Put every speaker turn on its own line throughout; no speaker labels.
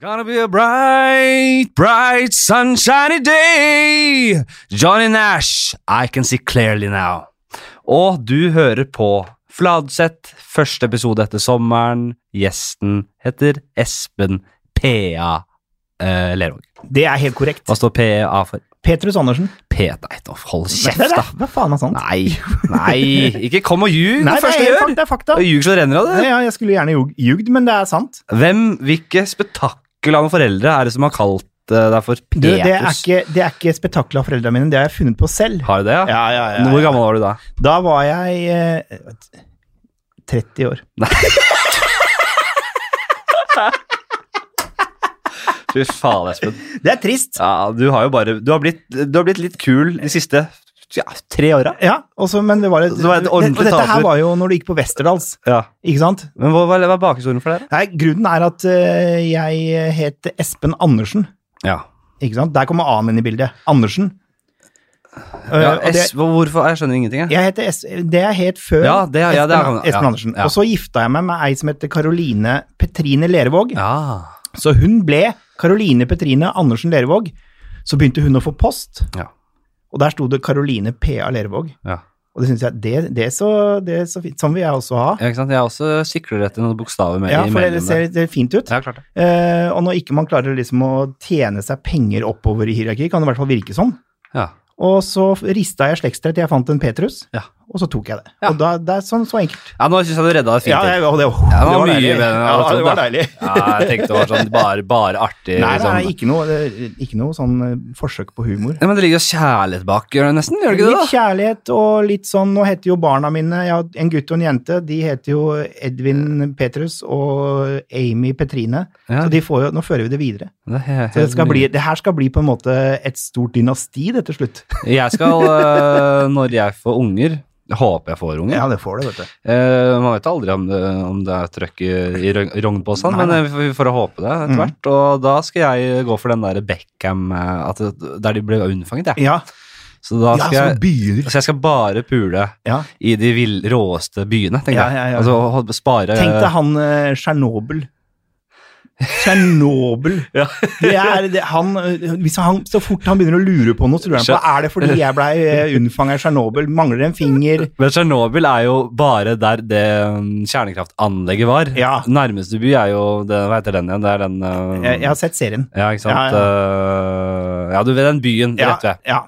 Gonna be a bright, bright, sunshiny day. Johnny Nash, I can see clearly now. Og du hører på Fladseth, første episode etter sommeren. Gjesten heter Espen P.A. Eh, Lervåg.
Det er helt korrekt.
Hva står P.A. for?
Petrus Andersen.
P... Nei, da, hold kjeft,
Nei, det
da.
er- Hva faen er sant?
Nei, nei, ikke kom og ljug.
Nei,
det første du
det, er,
gjør.
helt fak- det er fakta.
Og ljug så det renner av
Nei,
det.
ja, jeg skulle gjerne ljug- ljugd, men det er sant.
Hvem, hvilke spetakkel av foreldre er det som har kalt eh, deg for
Du, det er
Petrus?
ikke, det er ikke spetakkel av foreldrene mine, det har jeg funnet på selv.
Har du det,
Ja, ja, ja,
Hvor
ja.
gammel var du da?
Da var jeg eh, 30 år.
Fy faen, Espen.
Det er trist.
Ja, du har jo bare Du har blitt, du har blitt litt kul de siste ja, tre åra.
Ja, også, men det var et,
Det var et
det-
ordentlig
og Dette her
taper.
var jo når du gikk på Westerdals,
Ja.
ikke sant?
Men hva, hva er bakhistorien for dere?
Nei, grunnen er at eh, jeg het Espen Andersen,
Ja.
ikke sant? Der kommer A-en inn i bildet. Andersen. Eh,
ja
og det,
es, hvorfor? Jeg skjønner ingenting, jeg.
jeg heter es, det jeg het før
Ja, det- ja, det er-
Espen,
ja,
Espen Andersen.
ja.
Og så gifta jeg meg med ei som heter Karoline Petrine Lervåg.
Ja.
Så hun ble Karoline Petrine Andersen Lervåg. Så begynte hun å få post,
Ja.
og der sto det Karoline PA Lervåg.
ja.
Og det syns jeg det, det, er så, det er så fint. Sånn vil jeg også ha.
Ikke sant? Jeg har også sikler etter noen bokstaver med
Ja, for
imellom
det ser,
der.
det ser fint ut.
Ja, klart det.
Eh, og når ikke man klarer liksom å tjene seg penger oppover i hierarki, kan det i hvert fall virke sånn.
Ja.
Og så rista jeg slektstrekk til jeg fant en Petrus,
Ja.
og så tok jeg det.
Ja.
Og da, det er sånn så enkelt.
ja, nå syns jeg du redda det fint.
Ja,
jeg.
det, og det,
det var mye
deilig.
bedre enn jeg
Ja,
hadde
det var
trodd,
deilig.
Ja, jeg tenkte det var sånn bare, bare artig.
Nei, nei,
liksom.
nei, ikke noe, det- ikke noe sånn eh, forsøk på humor.
Nei, men det ligger jo kjærlighet bak, gjør det nesten? Gjør det ikke det,
Litt kjærlighet og litt sånn Nå heter jo barna mine jeg har en gutt og en jente. De heter jo Edvin Petrus og Amy Petrine.
da? Ja,
Så de får jo, nå fører vi det videre.
det, er helt-
Så det, skal bli, det her skal bli på en måte et stort dynasti, det til slutt.
Jeg skal, øh, når jeg får unger jeg Håper jeg får unger.
Ja, det får det, vet du.
Eh, man vet aldri om det, om det er trøkk i, i rogn- rognposen,
Nei,
men eh, vi får- vi får håpe det etter
Mhm.
hvert. Og da skal jeg gå for den der Beckham eh, at, det- der de ble unnfanget, jeg.
Ja,
Så da skal
ja så
jeg
begynner
så jeg skal bare pule
Ja.
i de vill, råeste byene, tenker
Ja,
jeg.
ja, ja.
Altså ho- spare
Tenk deg han eh, Tsjernobyl. Tsjernobyl.
Ja.
Det er, det, han, eh, hvis han, så fort han begynner å lure på noe, så lurer han på er det fordi jeg blei unnfanga i Tsjernobyl, mangler en finger
Men Tsjernobyl er jo bare der det mm, kjernekraftanlegget var.
Ja.
Nærmeste by er jo det, Hva heter den igjen? Det er den eh,
Jeg, jeg har sett serien.
Ja, ikke sant?
Ja,
Ja, ja. du vet den byen
Ja,
rett ved.
ja,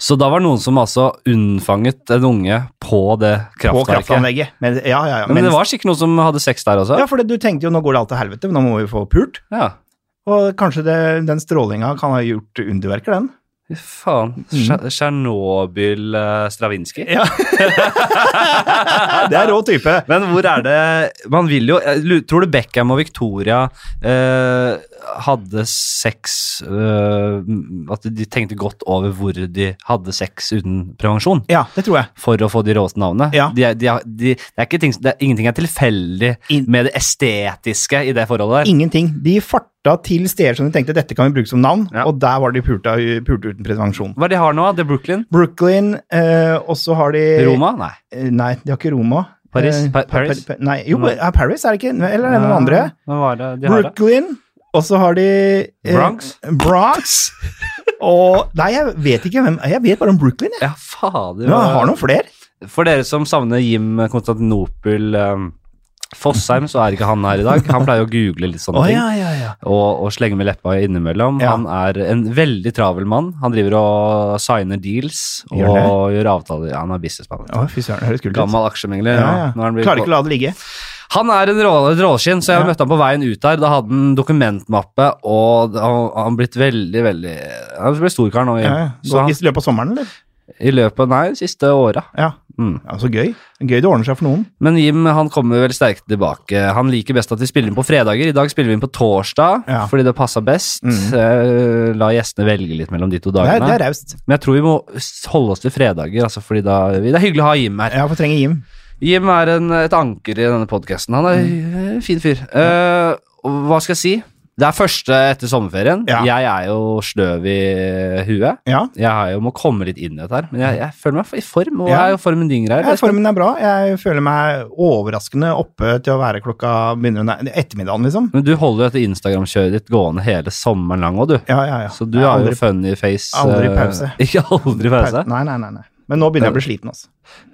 Så da var det noen som altså unnfanget en unge på det
på
kraftverket.
kraftanlegget. Men, ja, ja, ja.
Men,
mens-
det var sikkert noen som hadde sex der også.
ja, for det, du tenkte jo nå går det alt til helvete, men nå må vi få pult.
Ja.
Og kanskje det, den strålinga kan ha gjort underverker, den.
Fy faen. Tsjer- Tsjernobyl eh, Stravinskij.
Mm. Ja. det er rå type.
Men hvor er det Man vil jo jeg lu- Tror du Beckham og Victoria eh, hadde sex eh, At de tenkte godt over hvor de hadde sex uten prevensjon?
Ja, det tror jeg.
for å få de råeste navnene.
Ja.
De, er- de, er- de, det er ikke ting, som- det er, ingenting er tilfeldig
In-
med det estetiske i det forholdet der.
Ingenting. De farta til steder som de tenkte dette kan vi bruke som navn,
Ja.
og der var de pulta, pulte uten prevensjon.
Hva er det de har nå? Det er Brooklyn?
Brooklyn, eh, og så har de
Roma? Nei.
Eh, Nei, de har ikke Roma.
Paris?
Eh,
Pa- Paris?
Pa- Pa- nei, jo,
Nei.
er Paris er det ikke? Eller er det noen andre?
Eh, Hva var det de har da?
Brooklyn, og så har de eh,
Bronx?
Bronx. og Nei, jeg vet ikke hvem Jeg vet bare om Brooklyn, jeg.
Ja, fader.
Men
hva-
jeg har noen flere.
For dere som savner Jim Konstantinopel um, Fossheim, så er ikke han her i dag. Han pleier å google litt sånne ting.
ja, ja.
Og, og slenge med leppa innimellom.
Ja.
Han er en veldig travel mann. Han driver og signer deals og
Gjør det?
gjør avtaler. Ja, han er businessmann.
Å, fy søren, det høres kult ut.
Gammel aksjemegler.
Ja, ja.
ja. Nå er han blitt-
Klarer ikke å la det ligge.
Han er en rå- dråskinn, så jeg
Ja.
møtte han på veien ut der. Da hadde han dokumentmappe, og han han blitt veldig, veldig Han ble storkar nå. i-
Ja, ja.
Så han,
I løpet av sommeren, eller?
I løpet Nei, de siste åra.
Ja.
Mm.
ja, så gøy. Gøy det ordner seg for noen.
Men Jim han kommer vel sterkt tilbake. Han liker best at vi spiller inn på fredager. I dag spiller vi inn på torsdag,
Ja.
fordi det passa best.
Mm.
Eh, La gjestene velge litt mellom de to
Det er,
dagene.
det er raust.
Men jeg tror vi må holde oss til fredager, altså, fordi da Det er hyggelig å ha Jim her.
Ja, for trenger Jim.
Jim
Mm.
er en, et anker i denne podkasten. Han er en fin fyr. Eh, og hva skal jeg si? Det er første etter sommerferien.
Ja.
Jeg er jo sløv i huet.
Ja.
Jeg har jo, må komme litt inn i dette her, men jeg, jeg føler meg i form, og
Ja.
jeg er jo formen din greier.
Ja, formen er bra. Jeg føler meg overraskende oppe til å være klokka begynner, nei, ettermiddagen, liksom.
Men du holder jo dette Instagram-kjøret ditt gående hele sommeren lang òg, du.
Ja, ja, ja.
Så du
Jeg
har
aldri-
jo funny face.
aldri
eh,
pause.
Ikke aldri pause?
Nei, nei, nei. nei. Men nå begynner jeg å bli sliten, altså.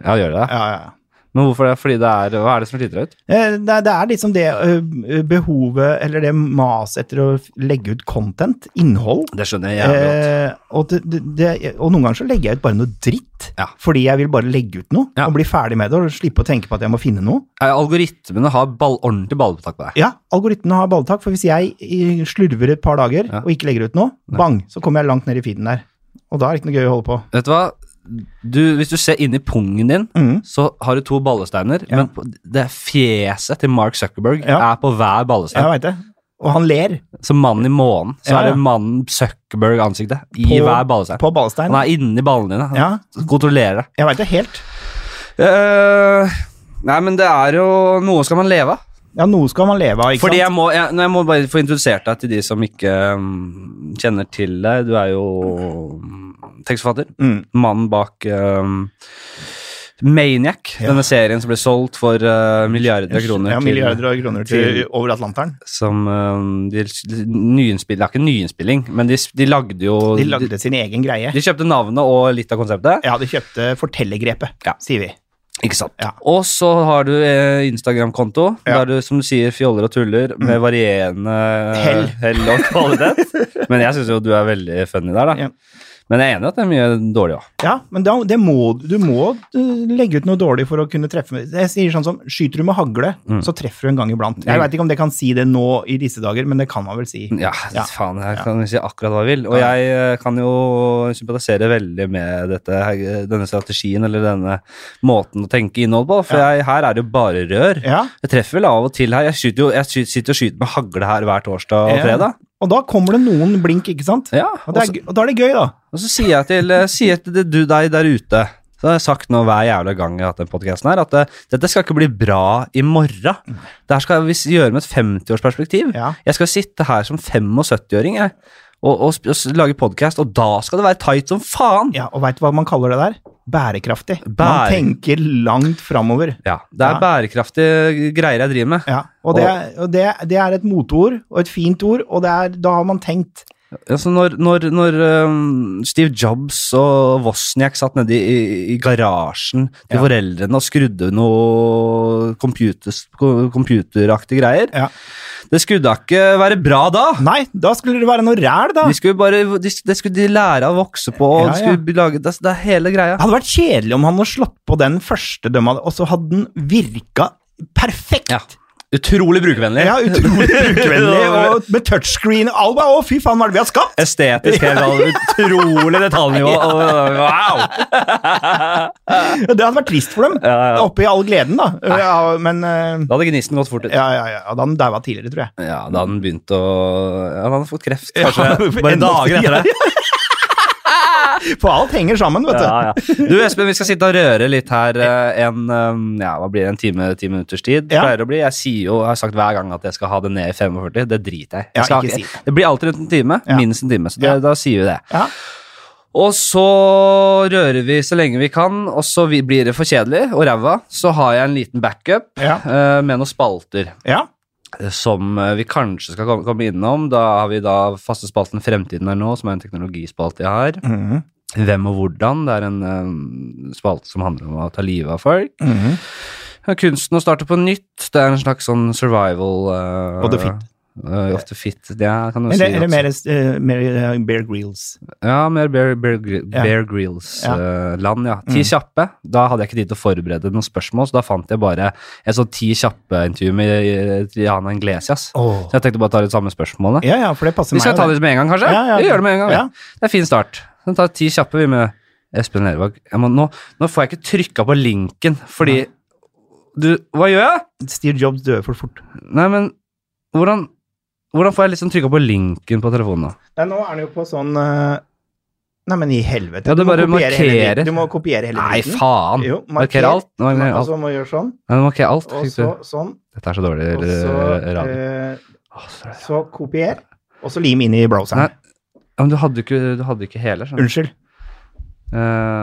Ja, gjør det det?
Ja, ja, ja.
Men hvorfor det? Fordi det er Hva er det som sliter deg ut?
Eh, Det, er- det er liksom det ø, behovet, eller det maset etter å f- legge ut content, innhold.
Det skjønner jeg jævlig godt.
Eh, og, det, det, det, og noen ganger så legger jeg ut bare noe dritt,
Ja.
fordi jeg vil bare legge ut noe
Ja.
og bli ferdig med det, og slippe å tenke på at jeg må finne noe.
Eh, Algoritmene har ball, ordentlig ballbetak på deg.
Ja, algoritmene har balletak, for hvis jeg i- slurver et par dager
Ja.
og ikke legger ut noe, bang, så kommer jeg langt ned i feeden der. Og da er det ikke noe gøy å holde på.
Vet du hva? Du, hvis du ser inni pungen din,
Mhm.
så har du to ballesteiner,
Ja.
men på- det fjeset til Mark Zuckerberg
Ja.
er på hver ballestein.
Jeg veit det. Og han ler
Som mannen i månen, så
Ja,
er
ja.
det mannen Zuckerberg-ansiktet i
På-
hver ballestein.
på ballestein.
Han er inni ballene dine. Han
Ja,
Kontrollerer det.
jeg veit det helt.
Eh, nei, men det er jo Noe skal man leve av.
Ja, noe skal man leve av, ikke
Fordi
sant?
jeg må, jeg, nei, jeg må bare få introdusert deg til de som ikke um, kjenner til deg. Du er jo um, tekstforfatter.
Mm.
Mannen bak um, Maniac,
Ja.
denne serien som ble solgt for uh, milliarder av kroner.
ja,
til-
milliarder av kroner til,
til-
over Atlanteren.
Som um, de, de nyinnspill- Det er ikke en nyinnspilling, men de, de lagde jo
De lagde sin egen greie.
de kjøpte navnet og litt av konseptet.
Ja, de kjøpte eh, fortellergrepet,
Ja.
sier vi.
Ikke sant.
Ja.
Og så har du eh, Instagram-konto,
Ja. Mm.
der du som du sier fjoller og tuller med varierende
Hell.
og kvalitet. Men jeg syns jo du er veldig funny der, da.
Ja.
Men jeg er enig i at det er mye dårlig òg.
Ja, men da, det må, du må uh, legge ut noe dårlig for å kunne treffe med Jeg sier sånn som skyter du med hagle,
Mm.
så treffer du en gang iblant. Jeg veit ikke om det kan si det nå i disse dager, men det kan man vel si.
Ja,
Ja.
faen, jeg kan si akkurat hva jeg vil. Og jeg eh, kan jo sympatisere veldig med dette, her- denne strategien eller denne måten å tenke innhold på, for jeg, her er det jo bare rør.
Ja,
Jeg treffer vel av og til her. Jeg, skyter jo, jeg sky- sitter og skyter med hagle her hver torsdag og
Ja.
fredag.
Eh, Og da kommer det noen blink, ikke sant?
Ja,
Og, det
og så-
er, gøy- og da er det gøy, da.
Og så sier jeg til, eh, sier til det- du deg der ute så har jeg sagt nå hver jævla gang jeg har hatt den podcasten her, at eh, dette skal ikke bli bra i morgen. Det her skal vi s- gjøre med et 50-årsperspektiv.
Ja.
Jeg skal sitte her som 75-åring jeg, og, og, sp- og s- lage podcast, og da skal det være tight som faen.
Ja, og veit du hva man kaller det der? Bærekraftig.
Bære-
Man tenker langt framover.
Ja, det er
Ja.
bærekraftige greier jeg driver med.
Ja, og det, og det, det er et moteord, og et fint ord, og det er, da har man tenkt.
Altså når, når, når um, Steve Jobs og Wozniak satt nede i, i garasjen til
Ja.
foreldrene og skrudde noe computers- ko- computeraktige greier
Ja.
Det skulle da ikke være bra da!
Nei, da skulle det være noe ræl, da!
De skulle bare, de, det skulle de lære av å vokse på, og
Ja,
de
ja.
skulle lage, det, det er hele greia.
Det hadde vært kjedelig om han hadde slått på den første dømma, og så hadde den virka perfekt.
Ja. Utrolig brukervennlig.
Ja, utrolig brukervennlig, og med touchscreen og alt. Å, fy faen, hva er det vi har skapt?
Estetisk helt sånn, utrolig detaljnivå. og- Wow!
Det hadde vært trist for dem.
Ja, ja.
Oppe i all gleden, da. Ja, men eh,
Da hadde gnisten gått fort ut.
Ja, ja, ja. Da han daua tidligere, tror jeg.
Ja, da hadde han begynt å ja, Han hadde fått kreft, kanskje.
Ja,
bare
enda-
dager etter det.
For alt henger sammen, vet du.
Ja, ja. Du Espen, vi skal sitte og røre litt her eh, en, eh, ja, hva blir det, en time, ti minutters tid.
Ja.
Pleier å bli. Jeg sier jo, jeg har sagt hver gang at jeg skal ha det ned i 45. Det driter jeg i.
Ja,
Jeg skal
ikke
ha-
si det.
Det blir alltid rundt en time.
Ja.
Minst en time. Så det,
Ja.
da sier vi det.
Ja.
Og så rører vi så lenge vi kan, og så vi blir det for kjedelig og ræva. Så har jeg en liten backup
Ja.
eh, med noen spalter
ja.
som eh, vi kanskje skal komme- komme innom. Da har vi da faste spalten Fremtiden er nå, som er en teknologispalte jeg har.
Mhm,
Hvem og hvordan. Det er en eh, spalte som handler om å ta livet av folk.
mhm.
Kunsten å starte på nytt. Det er en slags sånn survival eh,
Of the fit.
eh, of the fit, ja, kan du
Eller,
si.
eller
også.
mer, eh, mer eh, Bear Greels.
Ja, mer Bear, bear, Gry-
Ja.
bear Grylls,
Ja. Mhm.
eh, land, ja. Ti kjappe. Da hadde jeg ikke tid til å forberede noen spørsmål, så da fant jeg bare et sånn ti kjappe-intervju med Triana Inglesias. Så jeg tenkte bare å ta litt samme spørsmålene.
Ja, ja, for det passer
Vi skal
meg.
ta
jo,
det med en gang, kanskje?
Ja, ja.
Vi gjør det med en gang. vi.
Ja.
Det er fin start. Så vi tar ti kjappe vi med Espen Lervåg. Jeg må, nå, nå får jeg ikke trykka på linken, fordi Du, hva gjør jeg?
Steve Jobs døde for fort.
Nei, men hvordan hvordan får jeg liksom trykka på linken på telefonen? nå?
Nei, nå er den jo på sånn eh, Nei, men i helvete.
Ja, du bare
kopiere hele
markerer.
dritten. Du må kopiere hele
Nei,
dritten.
faen!
Jo, marker.
Marker alt. Nå markerer
Og
alt.
så må du gjøre sånn,
Nei, nå markerer alt.
og
Fikk du-
så sånn,
Dette er så dårlig
og så
eh, radio.
eh, Så kopier, og så lim inn i browseren.
Nei. Ja, men du hadde ikke, du hadde ikke hele, skjønner du.
Unnskyld.
Eh,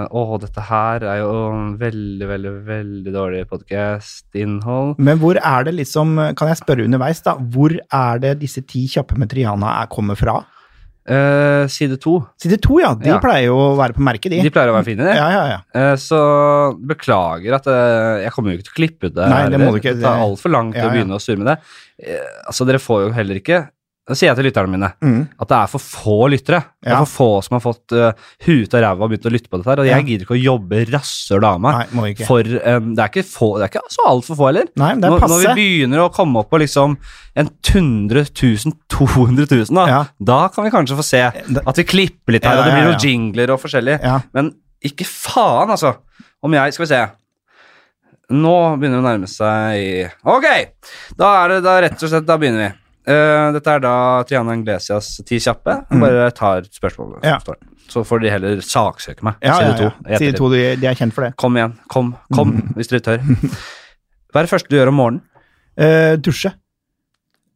å, dette her er jo veldig, veldig, veldig dårlig podkast-innhold.
Men hvor er det liksom, kan jeg spørre underveis, da, hvor er det disse ti kjappe med Triana er, kommer fra?
Eh, side to.
Side to, ja. De
Ja.
pleier jo å være på merket, de.
De pleier å være fine, de.
Ja, ja, ja.
Eh, Så beklager at eh, jeg kommer jo ikke til å klippe ut det.
Nei, det
her.
må du ikke.
Det tar altfor lang tid
Ja,
å
ja.
begynne å surre med det. Eh, Altså, dere får jo heller ikke Da sier jeg til lytterne mine
Mm.
at det er for få lyttere. Det
Ja.
er for få som har fått uh, huet av ræva og begynt å lytte på dette her. Og
Ja.
jeg gidder ikke å jobbe rasshøl av meg
Nei, må ikke.
for em, Det er ikke, få, det er ikke så altfor få heller.
Nei, men det
Når,
er
når vi
passe.
begynner å komme opp på liksom en 100 000, 200 000, da,
Ja. Eh,
da kan vi kanskje få se
Da-
at vi klipper litt her,
Ja,
og det blir
ja,
noen
ja.
jingler og forskjellig.
Ja.
Men ikke faen, altså. Om jeg Skal vi se. Nå begynner det å nærme seg Ok! Da er det da rett og slett Da begynner vi. Eh, dette er da Triana Inglesias Ti kjappe. Jeg bare tar spørsmålene. som
Mm. Ja.
står. Så får de heller saksøke meg.
Ja,
Side
ja, ja.
to, i
Side
ettertid.
to, Mm. de, de er kjent for det.
Kom igjen. Kom, kom, hvis dere tør. Hva er det første du gjør om morgenen?
Eh, dusje.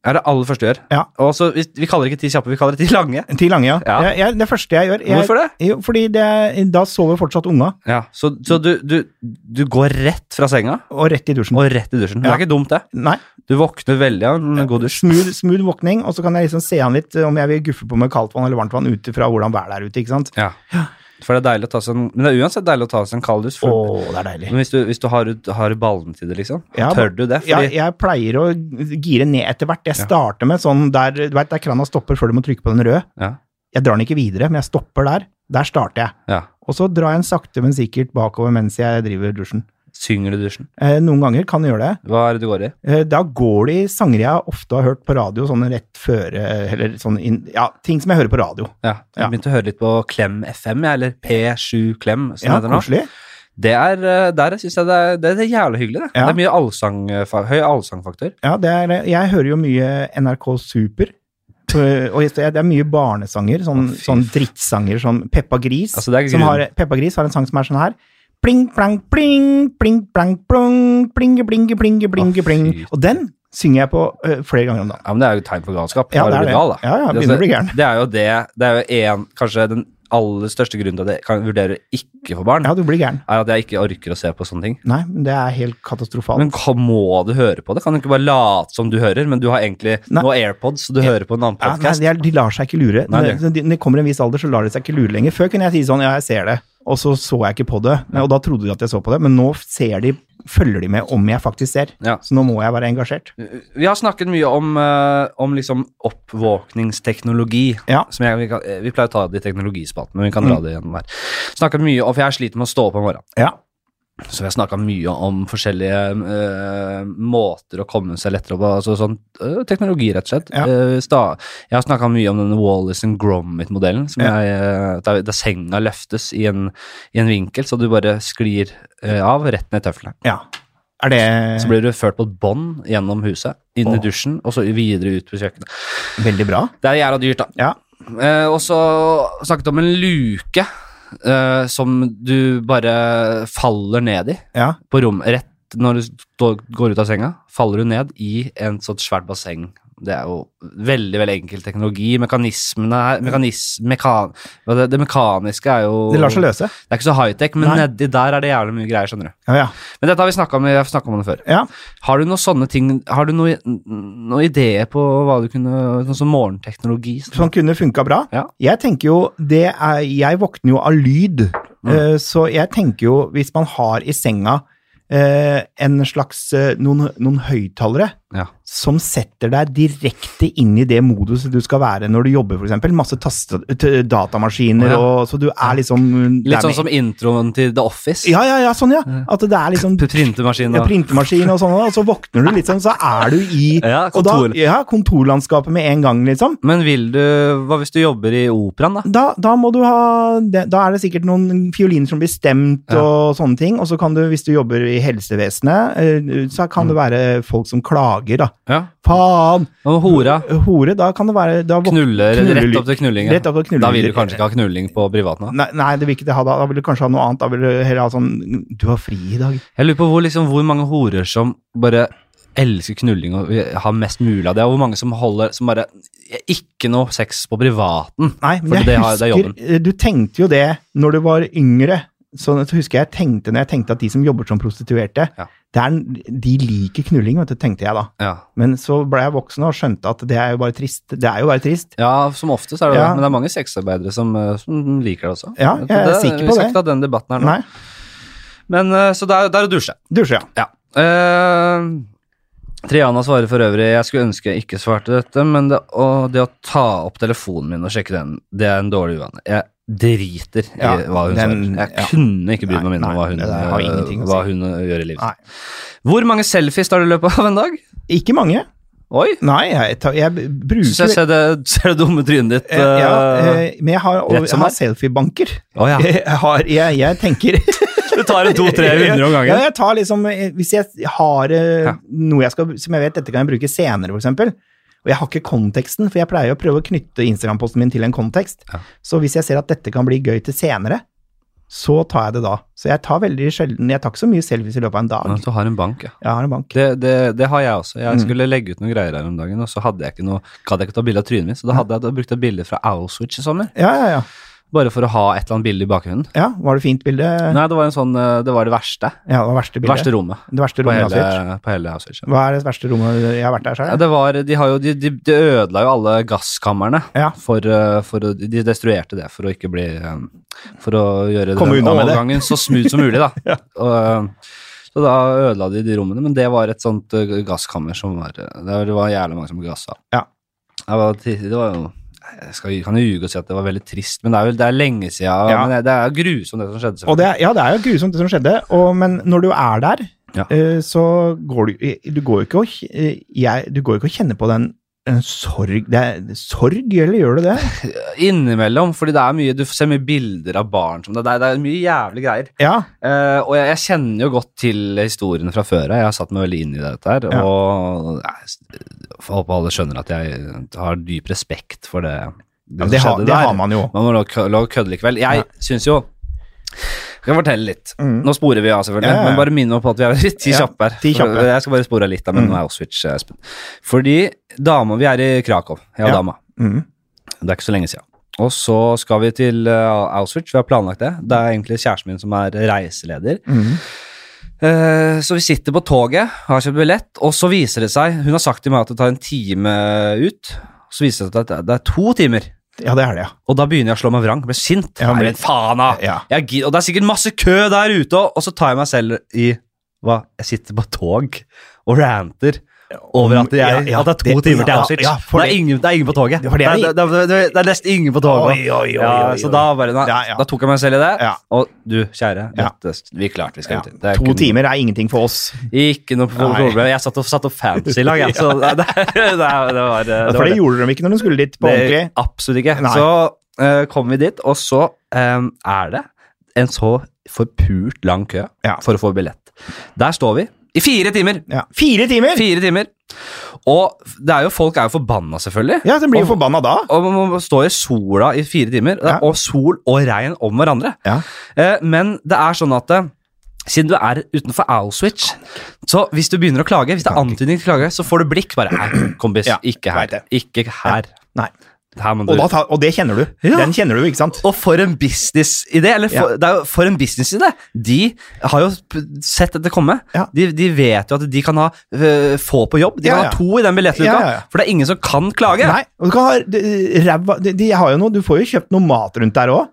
Er det aller første du gjør?
Ja.
Og så, vi, vi kaller det ikke ti kjappe, vi kaller det ti lange.
Ti lange, ja.
Ja.
Jeg, jeg, det første jeg gjør jeg,
Hvorfor det?
Jo, fordi det, er- da sover fortsatt unga,
Ja, Så, så du, du, du går rett fra senga
og rett i dusjen.
og rett i dusjen. Det
Ja.
er ikke dumt, det.
Nei,
Du våkner veldig av en god dusj.
smooth, smooth våkning, og så kan jeg liksom se an litt eh, om jeg vil guffe på med kaldt vann eller varmt vann ut ifra hvordan været er ute, ikke sant?
Ja. For det er deilig å ta seg en Men det er uansett deilig å ta seg en kald dusj.
Å,
For,
det er deilig.
men hvis du, hvis du har, ut- har ballen til det, liksom,
Ja,
tør du det?
Ja,
Fordi,
jeg pleier å gire ned etter hvert. Jeg starter med sånn der, du vet, der krana stopper før du må trykke på den røde.
ja.
Jeg drar den ikke videre, men jeg stopper der. Der starter jeg.
Ja.
Og så drar jeg den sakte, men sikkert bakover mens jeg driver dusjen.
Synger du i dusjen?
Eh, noen ganger kan jeg gjøre det.
Hva er det du går i?
Eh, da går det i sanger jeg ofte har hørt på radio, sånne rett føre, eller sånn inn, ja, ting som jeg hører på radio.
Ja.
Ja.
Jeg begynte å høre litt på Klem FM, jeg, eller P7 Klem, som det
Ja,
heter nå.
koselig.
Det er, eh, der syns jeg det er, det er jævlig hyggelig. Det,
Ja.
det er mye allsang, eh, fa- høy allsangfaktor.
Ja, det er, jeg hører jo mye NRK Super. For- Og det er mye barnesanger, sånn,
Å, fy
sånn drittsanger som Peppa Gris.
Altså, det er
som har,
grunnen.
Peppa Gris har en sang som er sånn her. Pling, plang, pling, pling, plang, plong, plinge, blinge, blinge, blinge,
Å,
pling.
fy.
Og den synger jeg på ø, flere ganger om dagen.
Ja, men det er jo et tegn på galskap. Da
Ja, det
har du
er det.
blitt gal, da.
Ja, ja,
Det er
begynner
altså-
å bli gæren.
Det er jo det, det er jo en, kanskje den aller største grunnen til at jeg kan vurdere ikke for barn,
Ja, du blir gæren.
er at jeg ikke orker å se på sånne ting.
Nei, men det er helt katastrofalt.
Men hva- må du høre på det? Kan du ikke bare late som du hører, men du har egentlig
Nei.
nå AirPods, så du hører på en annen
ja, nei,
podkast?
de, er, de lar seg ikke lure.
Nei,
Når- Når de, når de kommer i en viss alder, så lar de seg ikke lure lenger. Før kunne jeg si sånn, ja, jeg ser det, og så så jeg ikke på det. Og da trodde de at jeg så på det, men nå ser de, følger de med om jeg faktisk ser.
Ja.
Så nå må jeg være engasjert.
Vi har snakket mye om, eh, om liksom oppvåkningsteknologi.
Ja. Mm.
Som jeg, vi, kan, eh, vi pleier å ta det i teknologispalten, men vi kan dra det gjennom her. Snakket mye om, For jeg sliter med å stå opp om morgenen.
Ja.
Så vi har snakka mye om forskjellige eh, måter å komme seg lettere opp på. Altså sånn eh, teknologi, rett og slett.
Ja.
Eh, sta, jeg har snakka mye om denne Wallis and Gromit-modellen. som
Ja.
jeg, eh, der, der senga løftes i en, i en vinkel, så du bare sklir eh, av rett ned i tøflene.
ja. Er det
Så blir du ført på et bånd gjennom huset, inn
Åh.
i dusjen, og så videre ut på kjøkkenet.
veldig bra?
Det er jævla dyrt, da.
Ja.
Eh, og så snakket om en luke eh, som du bare faller ned i
Ja.
på rom, rett når du står- går ut av senga, faller du ned i en sånn svært basseng. Det er jo veldig veldig enkel teknologi. Mekanismene her mekanis, mekan, hva det, det mekaniske er jo
Det lar seg løse.
Det er ikke så high-tech, men
Nei.
nedi der er det jævlig mye greier. skjønner du.
Ja, ja.
Men dette har vi snakka om, vi har snakket om det før.
ja.
Har du noen sånne ting, har du noen noe ideer på hva du kunne Sånn som morgenteknologi? sånn?
Som kunne funka bra.
Ja.
Jeg tenker jo, det er, jeg våkner jo av lyd,
Mm.
eh, så jeg tenker jo hvis man har i senga eh, en slags, eh, noen, noen høyttalere,
Ja.
som setter deg direkte inn i det moduset du skal være når du jobber, for eksempel. Masse taste, t- datamaskiner,
Å, ja.
og, så du er liksom
Litt sånn som introen til The Office.
Ja, ja, ja, sånn, ja. At det er liksom
Printemaskin
ja,
og
printemaskin og sånn, og så våkner du liksom, så er du i
Ja,
og da,
kontor.
ja, kontorlandskapet med en gang, liksom.
Men vil du Hva hvis du jobber i operaen, da?
Da, da må du ha det- Da er det sikkert noen fioliner som blir stemt
Ja.
og sånne ting. Og så kan du, hvis du jobber i helsevesenet, eh, så
Mm.
kan det være folk som klager, da.
Ja.
Faen!
Og hora?
Hore, da kan det være da våk-
Knuller,
Knullelyd.
rett opp til knulling. ja.
Rett opp til knulling.
Da vil du kanskje ikke ha knulling på privaten. da.
Nei, nei, det vil ikke det ha da. Da vil du kanskje ha noe annet. Da vil du heller ha sånn Du har fri i dag.
Jeg lurer på hvor, liksom, hvor mange horer som bare elsker knulling og har mest mulig av det. Og hvor mange som holder som bare Ikke noe sex på privaten.
Nei,
Fordi
men jeg
det har- det er
husker, eh, du tenkte jo det når du var yngre. Så så husker jeg tenkte når jeg tenkte at de som jobber som prostituerte,
Ja.
det er, en- de liker knulling, vet du, tenkte jeg da.
Ja,
Men så ble jeg voksen og skjønte at det er jo bare trist. Det er jo bare trist.
ja som oftest er det
Ja.
det. Men det er mange sexarbeidere som, eh, som liker det også.
Ja, jeg er
det,
sikker på
vi skal ikke
det.
ta den debatten her nå.
Nei.
Men, eh, så det er, det er å dusje.
Dusje, ja.
Ja. Eh, Triana svarer for øvrig Jeg skulle ønske jeg ikke svarte dette, men det, og det å ta opp telefonen min og sjekke den, det er en dårlig uvane. Jeg driter i
Ja,
hva hun
den-
svarer. Jeg
ja.
kunne ikke brydd meg
Nei,
mindre om hva
nei,
hun, eh,
det der har ingenting å
hva
si.
hun eh, gjør i livet.
Nei.
Hvor mange selfies tar du i løpet av en dag?
Ikke mange.
Oi!
Nei, jeg, tar, jeg
Syns jeg
bruker
ser det, ser det dumme trynet ditt.
Eh, ja,
eh,
eh, Men jeg har,
rett
jeg
som
har
det
selfiebanker.
Å ja.
Jeg, har, jeg, jeg tenker
Du tar en to-tre hundre om
Ja,
gangen.
jeg tar liksom, eh, hvis jeg har eh,
Ja.
noe jeg skal, som jeg vet dette kan jeg bruke senere, for eksempel, og jeg har ikke konteksten, for jeg pleier å prøve å knytte Instagram-posten min til en kontekst,
Ja.
så hvis jeg ser at dette kan bli gøy til senere, så tar jeg det da. Så jeg tar veldig sjelden, jeg tar ikke så mye selfies i løpet av en dag.
Men Du har en bank, ja. sånn.
Jeg har en bank.
Det, det, det har jeg også.
Mm.
Jeg skulle legge ut noen greier her om dagen, og så hadde jeg ikke noe, gadd jeg ikke ta bilde av trynet mitt, så da hadde jeg da brukt et bilde fra Auschwitz i sommer.
Ja, ja, ja.
Bare for å ha et eller annet bilde i bakgrunnen.
ja var det fint bilde?
Nei, det var en sånn, eh, det var det verste.
Ja, det var verste
Det
bildet.
verste rommet
det verste
på
rommet jeg
hele,
har sett.
på hele Auschwitz. Ja.
Hva er det verste rommet jeg har vært der
Ja,
selv?
det var, de, har jo, de, de, de ødela jo alle gasskamrene.
Ja.
For, eh, for, å- de destruerte det for å ikke bli eh, For å gjøre
Komme
den
unna med det.
overgangen så smooth som mulig, da. Og, eh, så da ødela de de rommene, men det var et sånt eh, gasskammer som var eh, Det var- det var jævlig mange som gassa.
Ja.
Det var, det var jo jeg skal, jeg kan jo ljuge og si at det var veldig trist, men det er, vel, det er lenge siden.
Ja.
Men det, det er grusomt, det som skjedde.
Og det, er- ja, det er jo grusomt det som skjedde, og, men når du er der,
Ja.
eh, så går du, du går jo ikke å, kj- eh, jeg, du går jo ikke å kjenne på den eh, sorg, det er sorg, eller gjør du det?
Innimellom, fordi det er mye, du ser mye bilder av barn som det, det er- det er mye jævlig greier.
Ja,
Eh, og jeg, jeg kjenner jo godt til historiene fra før. Jeg har satt meg veldig inn i dette her.
Ja.
Og jeg s- får håpe alle skjønner at jeg har dyp respekt for det, det,
ja
som
det, har,
skjedde
det
der.
har man jo.
Man må lov kø- lov å kødde likevel. Jeg
Ja.
synes syns jo Skal jeg fortelle litt?
Mm.
Nå sporer vi av, selvfølgelig,
Ja, ja, ja.
men bare minn meg på at vi er ti
Ja,
kjappe her.
ti
For-
kjappe.
Jeg skal bare spore av litt, da, men
Mm.
nå er Auschwitz, Espen. Fordi dama Vi er i Krakow, jeg og
Ja.
dama.
Mm.
Det er ikke så lenge siden. Og så skal vi til eh, Auschwitz, vi har planlagt det. Det er egentlig kjæresten min som er reiseleder.
Mm.
Eh, Så vi sitter på toget, har kjøpt billett, og så viser det seg Hun har sagt til meg at det tar en time ut. Så viser det seg at det er- det er to timer.
Ja, det er det, ja.
Og da begynner jeg å slå meg vrang. Blir sint.
Ja,
Nei,
men-
men faen, da!
ja.
Jeg gid- og det er sikkert masse kø der ute, og- og så tar jeg meg selv i hva? Jeg sitter på tog og ranter over at, jeg,
Ja, ja,
at det er to
det-
timer til
ja,
Auschwitz.
ja, for
det, er
det-
ingen, det er ingen på toget.
Ja, for det er-
det, er- det er- det er nesten ingen på toget.
Oi, oi, oi,
Ja,
oi,
så
oi.
da, bare, da,
Ja, ja.
da tok jeg meg selv i det.
Ja.
Og du, kjære,
Ja.
dette, vi klarte vi skal
Ja,
ut i. Det er
to
ikke noe-
timer er ingenting for oss.
Ikke noe problem. Jeg satt og, satt og fancy i lag, jeg. Så det, det, det, var- det var det.
For
var
det gjorde de ikke når de skulle dit på
det-
ordentlig.
Absolutt ikke.
Nei.
Så eh, kom vi dit, og så eh, er det en så forpult lang kø
Ja.
for å få billett. Der står vi i fire timer!
Ja. Fire timer!
Fire timer. Og det er jo, folk er jo forbanna, selvfølgelig.
Ja, så blir jo
Og-
forbanna da.
Og man må stå i sola i fire timer,
Ja.
og sol og regn om hverandre.
Ja.
Eh, Men det er sånn at eh, siden du er utenfor Auschwitz, så hvis du begynner å klage, hvis det er
Kan ikke.
antydning til klage, så får du blikk bare Nei, kompis,
Ja,
ikke
vet
her.
det.
Ikke her.
Nei.
Her må du
Og, da, ta- og det kjenner du.
Ja.
Den kjenner du, ikke sant?
og for en businessidé! Eller for, det er jo for en businessidé! De har jo p- sett dette komme.
Ja.
De, de vet jo at de kan ha øh, få på jobb. De
Ja,
kan
ja.
ha to i den billettluka,
Ja, ja, ja.
for det er ingen som kan klage.
Nei, og du kan ha d- ræva de, de har jo noe, du får jo kjøpt noe mat rundt der òg.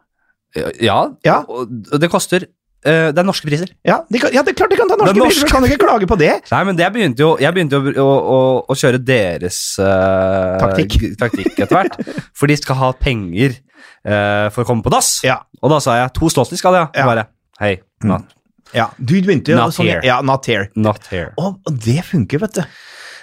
Ja,
Ja.
og og det koster øh, Det er norske priser.
Ja, de kan, ja, det er klart de kan ta norske
Det er norsk.
priser, du kan ikke klage på det.
Nei, men det begynte jo, jeg begynte jo å, å, å kjøre deres øh,
Taktikk.
g- taktikk etter hvert. for de skal ha penger øh, for å komme på dass.
Ja.
Og da sa jeg to slåssi skal de ha.
Ja. Mm.
Bare hei, not,
Ja, du begynte jo
Not
sånn,
here.
Ja, not here.
not here.
Å, og det funker, vet du.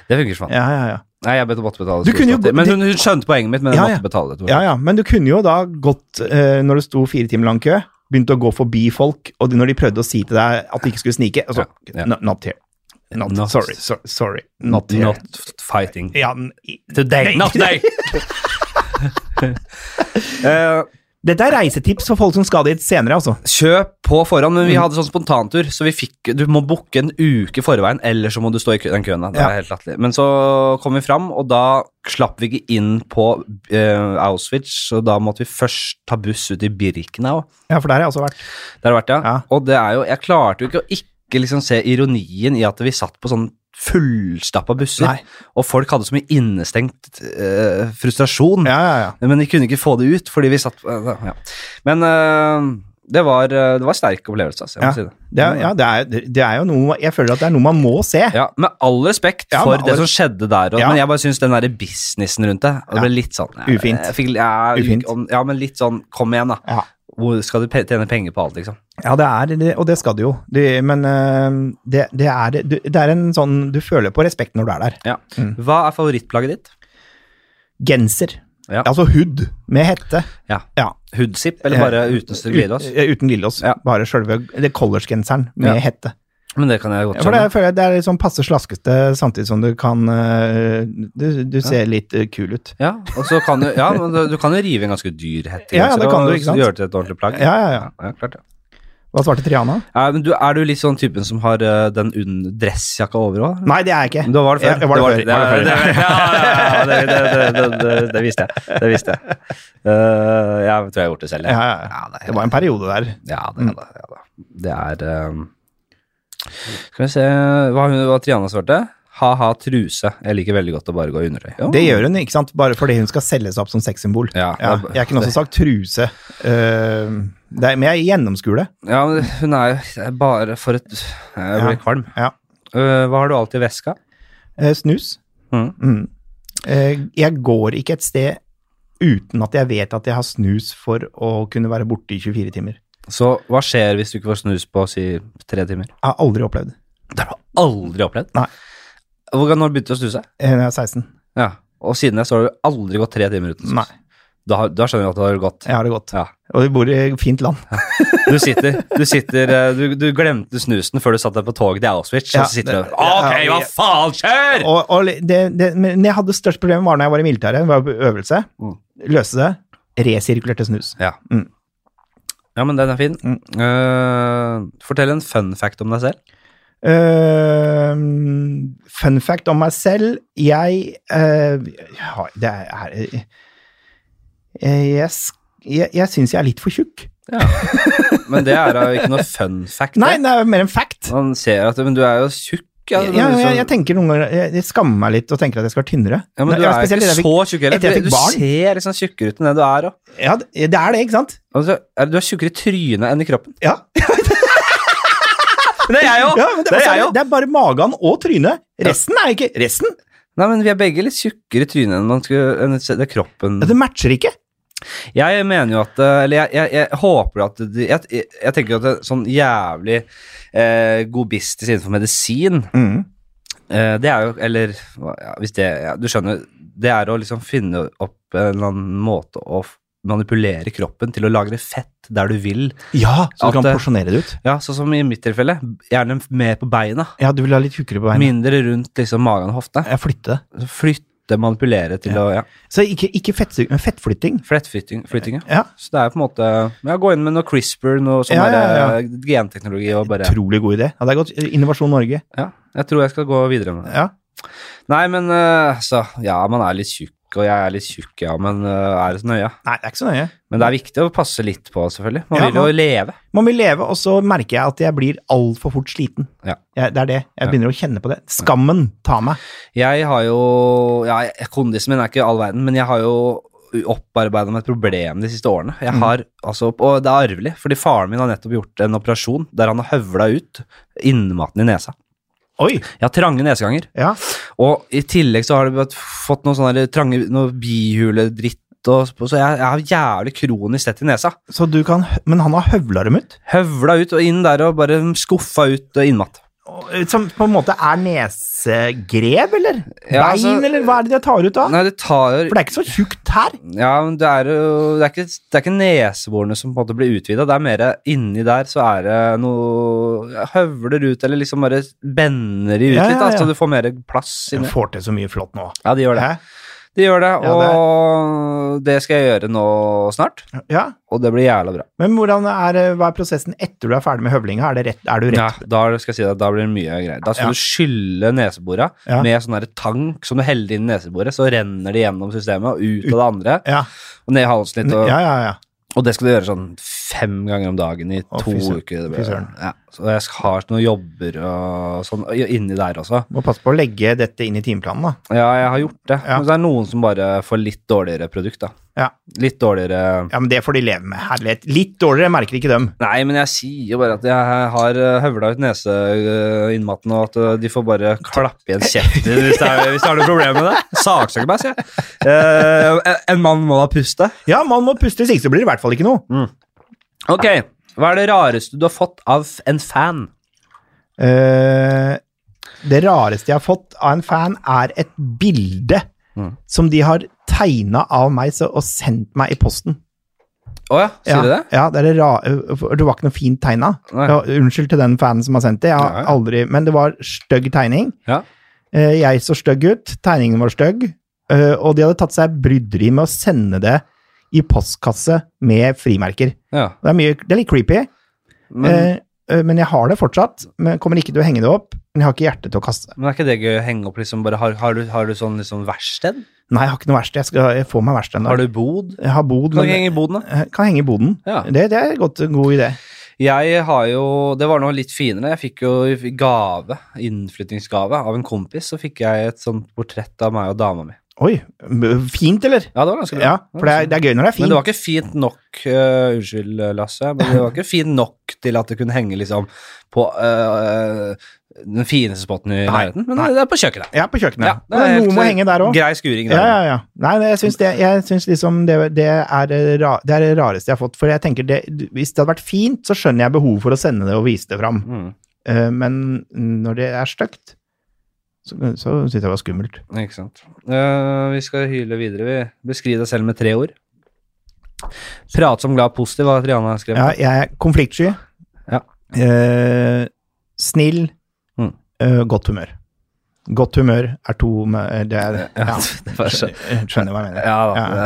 Det funker som faen.
Ja, ja, ja.
Nei, jeg bet- måtte betale
Du kunne jo
storskatter.
gå-
Men hun, hun skjønte poenget mitt, men jeg
Ja,
måtte
ja.
betale. tror jeg.
ja, ja. Men du kunne jo da gått, eh, når det sto fire timer lang kø, begynte å gå forbi folk, og de, når de prøvde å si til deg at de ikke skulle snike altså,
Ja, ja.
no- Not here. Not,
Not-
sorry, so, sorry. Not here.
Not fighting
ja, n- i-
today.
Nei.
Not today! Eh,
Dette er reisetips for folk som skal dit senere, altså.
Kjøp på forhånd, men vi
Mm.
hadde sånn spontantur, så vi fikk, du må booke en uke i forveien, eller så må du stå i kø- den køen. da. Det
Ja.
er helt latterlig. Men så kom vi fram, og da slapp vi ikke inn på eh, Auschwitz, og da måtte vi først ta buss ut i Birkenau.
Ja, for der har jeg også vært.
Der har det vært, ja.
Ja.
Og det er jo, jeg klarte jo ikke å ikke liksom se ironien i at vi satt på sånn fullstappa busser,
Nei.
og folk hadde så mye innestengt eh, frustrasjon.
Ja, ja, ja.
Men de kunne ikke få det ut, fordi vi satt eh, ja. Men øh, det, var, øh, det var sterk opplevelse, altså. Jeg må
Ja.
si det.
Det er, ja, det er, det er jo noe Jeg føler at det er noe man må se.
Ja, Med all respekt
Ja,
for
med all
det som skjedde der, og,
Ja.
men jeg bare syns den der businessen rundt det og Det
Ja.
ble litt sånn jeg-
Ufint.
Jeg fikk, ja,
Ufint.
om- ja, men litt sånn Kom igjen, da.
Ja.
Hvor skal du pe- tjene penger på alt, liksom?
Ja, det er det, og det skal det jo. Det, men eh, det, det, er, du- det er en sånn Du føler på respekt når du er der.
Ja.
Mm.
Hva er favorittplagget ditt?
Genser.
Ja.
Altså hood med hette.
Ja.
Ja.
Hoodsip, eller bare uten altså. glidelås?
Eh, Ut- ja, uten glidelås.
Ja.
Bare sjølve det collegegenseren med
Ja.
hette.
Men det kan jeg godt
Ja, for det,
skjønne.
jeg føler jeg det er litt sånn passe slaskete, samtidig som du kan eh, Du, du ser litt eh, kul ut.
Ja, og så kan du, ja, men du- du kan jo rive en ganske dyr hettegenser
Ja, ja, det kan
og
du, ikke sant?
gjøre det til et ordentlig plagg.
Ja, ja, ja.
ja klart, ja.
Hva svarte Triana?
Ja, men du, er du litt sånn typen som har eh, den unn- dressjakka over òg?
Nei, det er jeg ikke.
Da var det før.
Ja, det var det før.
Det,
Var det
det,
før.
ja, ja, ja, det, det, det, det, det, det visste jeg. Det visste jeg. Eh, jeg tror jeg har gjort det selv. jeg.
Ja, ja, ja.
det, Mm.
Det var en periode der.
ja, det, ja, da, ja, da. det er eh, Skal vi se Hva, hun- hva Triana svarte? Ha-ha, truse. Jeg liker veldig godt å bare gå i undertøy. Jo.
Det gjør hun, ikke sant? Bare fordi hun skal selge seg opp som
Oh.
sexsymbol.
Ja,
Ja,
det-
jeg kunne også sagt truse. Eh, det er, men jeg gjennomskuer det.
Ja, men hun er jo bare for et Jeg blir
Ja.
kvalm.
Ja.
Eh, hva har du alltid i veska?
Eh, snus.
Mm.
Mm. Eh, jeg går ikke et sted uten at jeg vet at jeg har snus for å kunne være borte i 24 timer.
Så hva skjer hvis du ikke får snus på si tre timer?
Jeg har aldri opplevd det.
Det har du aldri opplevd?
Nei.
Hvordan, når begynte du å snuse?
Eh, Når jeg er 16.
Ja. Og siden det så har du aldri gått tre timer uten snus?
Nei.
Da, har- da skjønner du at det har gått.
Jeg har det godt.
Ja.
Og vi bor i et fint land.
Du sitter, du, sitter eh, du, du glemte snusen før du satt deg på toget til Auschwitz,
Ja,
og så Sånn sitter du
det-
Ok,
ja,
hva
vi-
faen skjer?!
Og, og det, det, men jeg hadde størst problem var når jeg var i militæret, var på øvelse.
Mm.
Løste det. Resirkulerte snus.
Ja.
Mm.
ja, men den er fin. Eh, fortell en fun fact om deg selv.
Eh, fun fact om meg selv. Jeg eh, ja, Det er eh, Jeg, sk- jeg, jeg syns jeg er litt for tjukk.
Men det er jo ikke noe fun fact.
Nei,
det.
det er jo mer en fact.
Man ser at Men du er jo tjukk. Ja,
Jeg,
men du-
jeg, jeg tenker noen ganger jeg, jeg skammer meg litt og tenker at jeg skal være tynnere.
ja, men
Nei,
du
ja,
er jo
spesielt
ikke
etter jeg
så tjukk heller.
etter jeg
for
fikk
Du
barn.
ser liksom tjukkere ut enn det du er. Og.
fikk- Ja, det er det, ikke sant?
Altså, er, du er tjukkere i trynet enn i kroppen.
Ja.
Men det er jeg jo!
Ja, men det,
Det er
altså,
jeg jo.
det er bare magen og trynet. Resten er ikke Resten?
Nei, men vi er begge litt tjukkere i trynet enn, man skulle, enn se- det er kroppen.
Ja, Det matcher ikke.
Jeg mener jo at eh, Eller jeg, jeg, jeg håper at de, jeg, jeg, jeg tenker at det er sånn jævlig eh, god business innenfor medisin eh, Det er jo Eller hva- ja, hvis det ja, Du skjønner, det er å liksom finne opp en eller annen måte å f- manipulere kroppen til å lagre fett der du vil.
Ja,
At
så du kan
det-
porsjonere det ut.
Ja, sånn som i mitt tilfelle. Gjerne mer på beina.
Ja, du vil ha litt tjukkere på beina.
Mindre rundt liksom magen og hoftene.
Jeg flytter det.
Flytte, manipulere til å ja,
Så ikke, ikke fettsug- men fettflytting.
Flettflytting. flytting, ja.
Ja,
Så det er jo på en måte ja, Gå inn med noe CRISPR, noe sånn
Ja, ja,
der, eh, genteknologi og bare
Utrolig god idé. Ja, det er godt. Innovasjon Norge.
Ja, jeg tror jeg skal gå videre med det.
Ja.
Nei, men eh, så Ja, man er litt tjukk, og jeg er litt tjukk, ja, men eh, er det så nøye?
Nei, det er ikke så nøye.
Men det er viktig å passe litt på, selvfølgelig. Man
Ja,
vil jo leve.
Man vil leve, og så merker jeg at jeg blir altfor fort sliten.
Ja.
Jeg, det er det. Jeg begynner å kjenne på det. Skammen tar meg.
Jeg har jo Ja, jeg- kondisen min er ikke all verden, men jeg har jo opparbeida meg et problem de siste årene.
Mm.
Jeg har, altså, og det er arvelig, fordi faren min har nettopp gjort en operasjon der han har høvla ut innmaten i nesa.
Oi!
Jeg har trange neseganger.
Ja.
Og i tillegg så har det vært- fått noen sånne der trange noe bihuledritt, og, så jeg, jeg har jævlig kronisk tett i nesa.
Så du kan hø- Men han har høvla dem ut?
Høvla ut og inn der og bare skuffa ut og innmatt.
Og- eh, Som på en måte er nesegrev, eller?
Ja,
Bein,
altså-
eller hva er det de tar ut da?
Nei, det tar
For det er ikke så tjukt her.
Ja, men det er jo Det er ikke, det er ikke neseborene som på en måte blir utvida, det er mer inni der så er det noe Høvler ut, eller liksom bare bender de ut
Ja, ja,
litt, da,
ja.
så du får mer plass
Du
inni.
får til så mye flott nå.
Ja, de gjør det.
Hæ?
De gjør det,
Ja, det
og det skal jeg gjøre nå snart,
Ja,
og det blir jævla bra.
Men hvordan er, eh, hva er prosessen etter du er ferdig med høvlinga? Er, det rett, er du rett?
Ja, da skal jeg si deg, da blir det mye greier. Da skal
Ja.
du skylle neseborene
Ja.
med sånn der tank som du heller inn i neseboret, så renner det gjennom systemet og ut av det andre,
Ja.
og ned i halsen litt.
Ja,
Og,
ja, ja.
og det skal du gjøre sånn fem ganger om dagen i
Å,
to
fy søren,
uker. Det
fy
blir,
søren.
ja. Så jeg skal- har noen jobber og sånn inni der også.
Må passe på å legge dette inn i timeplanen, da.
Ja, jeg har gjort det.
Ja.
Men så er det noen som bare får litt dårligere produkt, da.
Ja.
Litt dårligere
Ja, men det får de leve med. Herlighet. Litt dårligere merker ikke dem.
Nei, men jeg sier jo bare at jeg har eh, høvla ut neseinnmaten, og at eh, de får bare klappe igjen kjeften din hvis det er, hvis det er noe problem med det. Saksøker meg, sier jeg. Eh, en mann må da puste.
Ja, man må puste, hvis ikke så blir det i hvert fall ikke noe.
Ok, hva er det rareste du har fått av en fan?
Eh, det rareste jeg har fått av en fan, er et bilde
Mm.
som de har tegna av meg så, og sendt meg i posten.
Å ja, sier
ja,
du det?
Ja, det, er det, ra eh, for det var ikke noe fint tegna.
Nei.
Ja, Unnskyld til den fanen som har sendt det. Jeg har
Ja, ja.
aldri, men det var stygg tegning.
Ja.
Eh, Jeg så stygg ut, tegningen var stygg, eh, og de hadde tatt seg bryderi med å sende det i postkasse med frimerker.
Ja.
Det er, mye, det er litt creepy,
Men,
eh, eh, men jeg har det fortsatt. Men kommer ikke til å henge det opp, men jeg har ikke hjerte til å kaste det.
men er ikke det gøy å henge opp liksom bare Har, har, du, har du sånn liksom verksted?
Nei, jeg har ikke noe verksted. Jeg, skal- jeg får meg verksted en dag.
Har du bod?
Jeg har
Kan
bod,
du ikke
men
henge i boden, da?
eh, kan henge i boden.
Ja.
Det, det er en godt, god idé.
Jeg har jo Det var noe litt finere. Jeg fikk jo i gave, innflyttingsgave, av en kompis. Så fikk jeg et sånt portrett av meg og dama mi.
Oi, b- fint, eller?
Ja, det var ganske bra.
Ja, for det er, det er gøy når det
Men
er fint.
det var ikke fint nok øh, Unnskyld, Lasse. Men det var ikke fint nok til at det kunne henge liksom på øh, den fineste spotten i
Nei,
nærheten. Men
nei.
det er på kjøkkenet.
Ja, på kjøkkenet.
Ja, det er
Men
helt,
noe må
eh,
henge der òg.
Grei skuring der.
Ja, ja, ja. Nei, det- jeg syns det, jeg syns liksom det, det, er det ra, det er det rareste jeg har fått. For jeg tenker det, hvis det hadde vært fint, så skjønner jeg behovet for å sende det og vise det fram.
Mm,
Eh, men når det er stygt, så, så syns jeg det var skummelt.
ikke sant. Eh, vi skal hyle videre, vi. Beskriv deg selv med tre ord. Prat som glad og positiv, har Triana skrevet.
Ja, jeg er konfliktsky.
Ja.
Eh, snill.
Mm.
eh, godt humør. Godt humør er to med, det er,
Ja,
ja.
det var så-
Skjønner hva jeg mener.
Ja da.
Ja,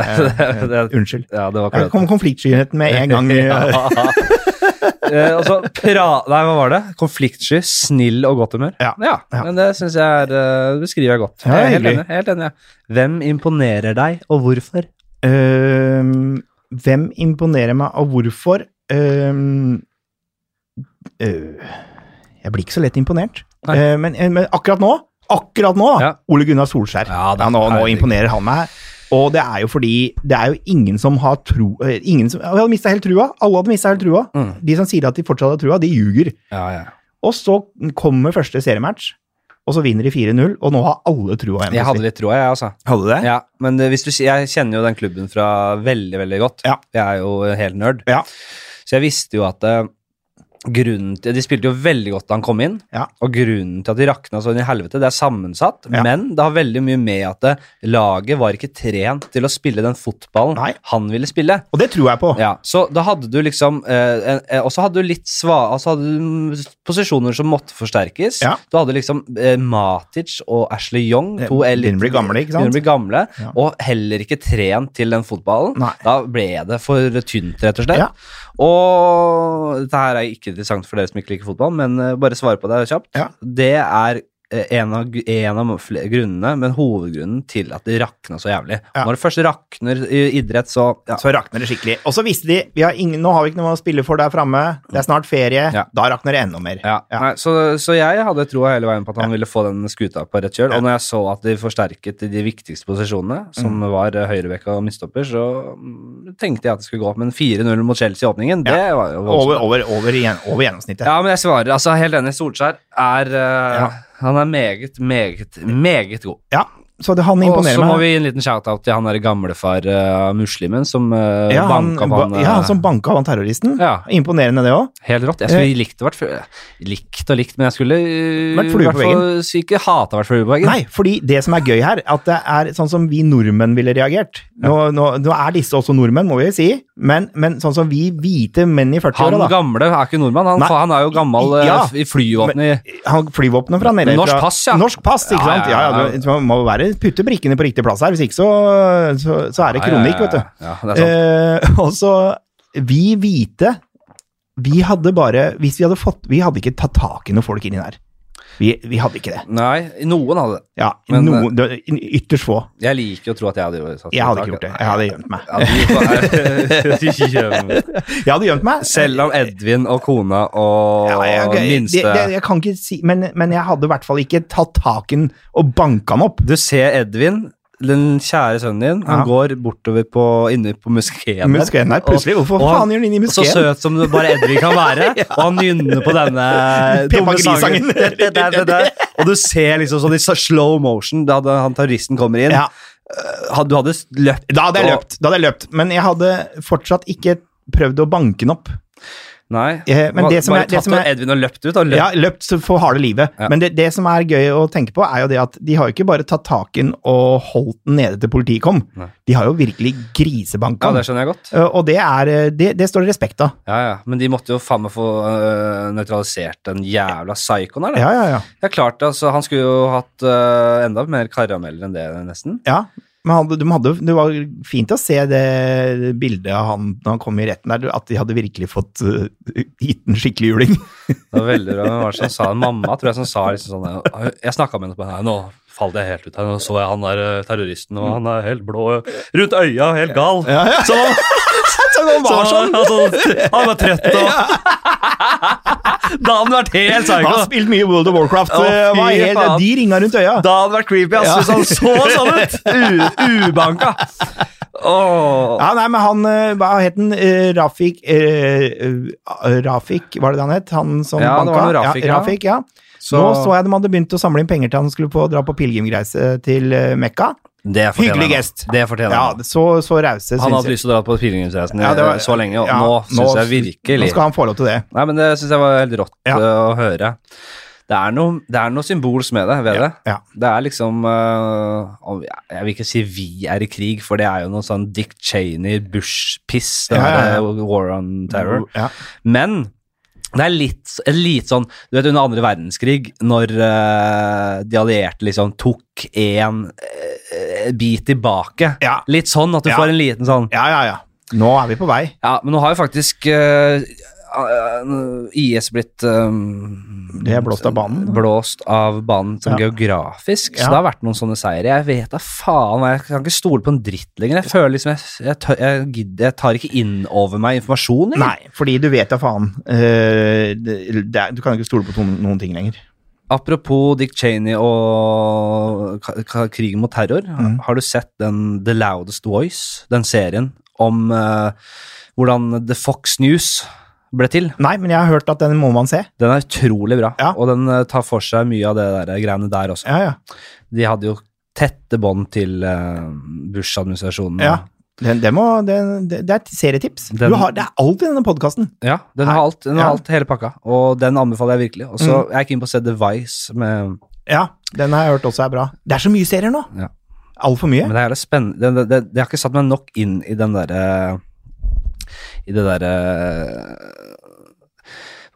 eh,
det- det-
Unnskyld.
Ja, det var
Her kom
klønete.
konfliktskyheten med en gang.
Eh, og så pra... Nei, hva var det? Konfliktsky, snill og godt humør.
Ja. Ja.
Men det syns jeg er eh, beskriver jeg godt.
Ja,
jeg er helt
hyggelig.
enig. Helt enig ja. Hvem imponerer deg, og hvorfor?
Øhm, Ehm, hvem imponerer meg, og hvorfor? Øhm, øh, jeg blir ikke så lett imponert.
Nei.
Eh, men, men akkurat nå, akkurat nå, da,
Ja.
Ole Gunnar Solskjær.
Ja, det-
nå, nå
herregud.
imponerer han meg. Og det er jo fordi det er jo ingen som har tro eh, ingen som, Vi hadde mista helt trua. Alle hadde mista helt trua.
Mm.
De som sier at de fortsatt har trua, de ljuger.
Ja, ja.
Og så kommer første seriematch, og så vinner de 4-0, og nå har alle trua igjen.
Jeg hadde litt troa, jeg, altså.
Hadde du det?
Ja, men eh, hvis du, jeg kjenner jo den klubben fra veldig, veldig godt.
Ja.
Jeg er jo helt nerd.
Ja.
Så jeg visste jo at eh, grunnen til De spilte jo veldig godt da han kom inn,
Ja.
og grunnen til at de rakna sånn i helvete, det er sammensatt,
Ja.
men det har veldig mye med at det, laget var ikke trent til å spille den fotballen
Nei.
han ville spille.
Og det tror jeg på.
Ja, så da hadde du liksom eh, en- eh, Og så hadde du litt sva... Altså hadde du mm, posisjoner som måtte forsterkes.
Ja.
Du hadde liksom eh, Matic og Ashley Young. To
Det
elit-
begynner å bli gamle, ikke sant?
Begynner å bli gamle,
Ja.
Og heller ikke trent til den fotballen.
Nei.
Da ble det for tynt, rett og slett.
Ja.
Og dette her er ikke interessant for dere som ikke liker fotball, men eh, bare svare på det kjapt.
Ja.
Det er eh, en av, gr- en av fle- grunnene, men hovedgrunnen til at det rakna så jævlig.
Ja.
Når det først rakner i idrett, så ja.
Så rakner det skikkelig. Og så visste de vi har ingen, nå har vi ikke noe å spille for der framme, det er snart ferie.
Ja.
Da rakner det enda mer.
Ja.
Ja.
Nei, så, så jeg hadde troa hele veien på at han ville få den skuta på rett kjøl. Og når jeg så at de forsterket de viktigste posisjonene, som
Mm.
var eh, høyrebekk og midtstopper, så mm, tenkte jeg at det skulle gå opp. Men 4-0 mot Chelsea i åpningen, det var jo voldsomt.
Over, over, over, igjen- over gjennomsnittet.
Ja, men jeg svarer. Altså, helt enig. Solskjær er eh,
Ja.
Han er meget, meget, meget god.
Ja, Så det, han
Og
imponerer
så må vi
meg.
gi en liten shout-out til han der gamlefar eh, muslimen som uh,
ja, han,
banka på han.
ba- ja,
eh,
han som banka han terroristen.
Ja.
Imponerende, det òg.
Helt rått. Jeg skulle likt det vært før. Likt og likt, men jeg skulle øh,
Vært flue
i
på
hvert fall si Ikke hata vært flue på veggen.
Nei, fordi det som er gøy her, at det er sånn som vi nordmenn ville reagert. Nå, nå, nå er disse også nordmenn, må vi si, men, men sånn som vi hvite menn i
Han
40-åra, da.
gamle er ikke nordmann. Han,
Nei.
faen, han er jo gammel eh,
Ja.
f- i flyvåpenet i
Han flyvåpenet fra nede
Norsk
fra-
pass, ja.
Norsk pass, ikke
Ja, ja,
sant? Ja,
ja,
ja,
ja.
du, man må være det putte brikkene på riktig plass her, hvis ikke så, så, så er det kronikk, vet du.
Ja, ja, ja. ja, det er sant.
Eh, og så Vi hvite, vi hadde bare Hvis vi hadde fått Vi hadde ikke tatt tak i noen folk inni der. Vi, vi hadde ikke det.
Nei, noen hadde det.
Ja,
Men, eh,
noen, det var ytterst få.
Jeg liker å tro at jeg hadde gjort
Jeg hadde ikke gjort det. Jeg hadde gjemt meg.
Ja, du var-
Jeg hadde gjemt meg.
Selv om Edvin og kona og
Ja, jeg, jeg,
minste
det, det, jeg kan ikke si men, men jeg hadde i hvert fall ikke tatt tak i den og banka den opp.
Du ser Edvin, den kjære sønnen din, han
Ja.
går bortover på, inne på moskeen der.
Muskelen der, plutselig. Hvorfor
og han-
faen gjør den inn i
Så
muskelen?
søt som det bare Edvin kan være, og han nynner på denne
Peppa
dumme sangen.
Gris-sangen.
Det, det, det, det, det. Og du ser liksom sånn i så slow motion da da han terroristen kommer inn.
Ja,
Had- Du hadde s- løpt.
da hadde jeg
og-
løpt. Da hadde jeg løpt. Men jeg hadde fortsatt ikke prøvd å banke den opp.
Nei.
Eh, men
Ba-
det som
bare
er- det
tatt
som
av
er-
Edvin og løpt ut. Og løpt.
Ja, løpt så for harde livet.
Ja.
Men det, det som er gøy å tenke på, er jo det at de har jo ikke bare tatt tak i den og holdt den nede til politiet kom.
Nei.
De har jo virkelig grisebanka
Ja, det
den.
skjønner jeg godt.
Eh, og det, er, eh, det, det står det respekt av.
Ja, ja. Men de måtte jo faen meg få øh, nøytralisert den jævla psykoen her. da.
Ja, ja, ja.
Det er klart, altså, Han skulle jo hatt øh, enda mer karameller enn det, nesten.
ja. Men han, de hadde, det var fint å se det bildet av han når han kom i retten der, at de hadde virkelig fått eh, gitt den skikkelig juling.
Det var veldig bra. Hvem var det som sa det? Mamma tror jeg som sa liksom sånn Jeg snakka med henne på Nå falt jeg helt ut her. Nå så jeg han der eh, terroristen, og han er helt blå rundt øya, helt gal. Så han,
Så det
så
var
han,
sånn!
altså, han var trett og Da hadde han vært helt
Han har
psycho.
spilt mye World of Warcraft.
Å,
eh,
fy
var helt,
faen.
de ringa rundt øya.
Da hadde det vært creepy, ass,
Ja.
hvis han så sånn ut. U ubanka. Åh.
Ja, nei, men han, eh, hva het han? Eh, Rafik eh, eh, Rafik, var det det han het? Han som
Ja, det
banka?
var noe Rafik,
ja.
ja.
Rafik, ja.
Så-
Nå så jeg de hadde begynt å samle inn penger til han skulle få dra på pilegrimreise til eh, Mekka.
Det fortjener
Hyggelig
han.
gest.
Det fortjener
Ja,
han.
så, så
Han
rause, syns
hadde
jeg.
lyst til å dra på pilegrimsreisen
Ja, det var-
så lenge, og
ja,
nå syns jeg
Nå
virkelig
skal han få lov til det.
Nei, men det syns jeg var helt rått
Ja.
eh, å høre. Det er noe, det er noe symbols med det, ved det.
Ja.
Det er liksom eh, om- Jeg vil ikke si vi er i krig, for det er jo noe sånn Dick Cheney, Bush-piss, det
Ja, ja,
her,
ja.
eh, war on terror.
Ja.
Men det er litt, litt sånn Du vet, under andre verdenskrig, når eh, de allierte liksom tok en eh, bit tilbake
Ja.
Litt sånn at du
Ja.
får en liten sånn
ja, ja, ja. Nå er vi på vei.
ja, men nå har jo faktisk eh, eh, IS blitt eh,
Det er blåst av banen.
Blåst av banen som
Ja.
geografisk, så det
Ja.
har vært noen sånne seire. Jeg vet da faen, hva, jeg kan ikke stole på en dritt lenger. Jeg føler liksom jeg, jeg, tør, jeg, gidder, jeg tar ikke inn over meg informasjon. lenger.
Nei, fordi du vet da faen. eh, det, det, er- du kan ikke stole på noen, noen ting lenger.
Apropos Dick Cheney og ka- ka- krigen mot terror.
Mm.
Har du sett den The Loudest Voice, den serien om eh, hvordan The Fox News ble til?
Nei, men jeg har hørt at den må man se.
Den er utrolig bra,
Ja.
og den eh, tar for seg mye av det der eh, greiene der også.
Ja, ja.
De hadde jo tette bånd til eh, Bush-administrasjonen.
Ja. Den, den må, den, det det er et serietips.
Den-
du har, det er alltid denne podkasten.
Ja, den har
Nei.
alt, den har
Ja. Mm.
alt hele pakka, og den anbefaler jeg virkelig. Og så er jeg keen på å se The Vice, med,
Ja, den har jeg hørt også er bra. Det er så mye serier nå!
Ja.
Altfor mye.
men det er jævlig spennende. Det, det, det, jeg har ikke satt meg nok inn i den derre I det derre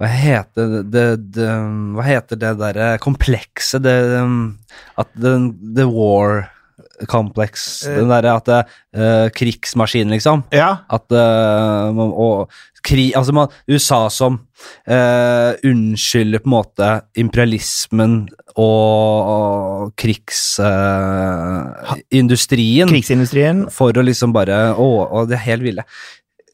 hva heter det, det, det Hva heter det derre komplekset det, um, At den The War Complex Den derre at det, eh, Krigsmaskinen, liksom.
Ja,
At eh, man, og, kri, altså man, USA som eh, unnskylder på en måte imperialismen og, og krigsindustrien
krigsindustrien.
for å liksom bare Å, å, det er helt ville.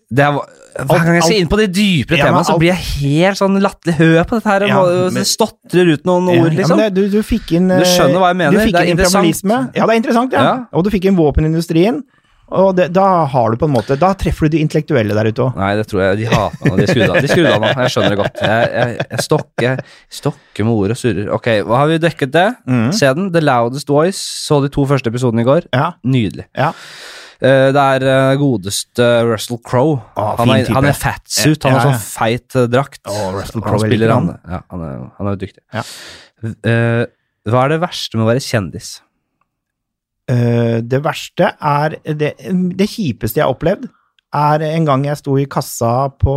Det er, hver gang jeg
alt-
ser inn på det dypere
Ja, men
temaet, så
alt-
blir jeg helt sånn latterlig høy på dette her. og
Ja,
må-
men-
stotrer ut noen ord,
Ja,
liksom.
men det, du, du fikk inn eh,
Du skjønner hva jeg mener,
Du fikk
det er
inn
interessant.
imperialisme. Ja, det er interessant, ja.
Ja.
Og du fikk inn våpenindustrien. Og det, da har du på en måte Da treffer du de intellektuelle der ute òg.
Nei, det tror jeg de hater meg nå. De skrudde av- de skrudde av nå. Jeg skjønner det godt. Jeg, jeg, jeg stokker, stokker med ord og surrer. Ok, hva har vi dekket det?
Mm.
Se den. The Loudest Voice. Så de to første episodene i går.
Ja.
Nydelig.
Ja.
Eh, Det er eh, godeste Russell Crowe.
Å,
han,
fin
er,
type.
han er fatsuit. Han
Ja, ja.
har sånn feit eh, drakt.
Å, Russell
han
Crowe er
spiller
like
han.
han.
Ja, han er jo han er jo dyktig.
Ja.
Eh, Hva er det verste med å være kjendis?
Eh, det verste er det, det kjipeste jeg har opplevd, er en gang jeg sto i kassa på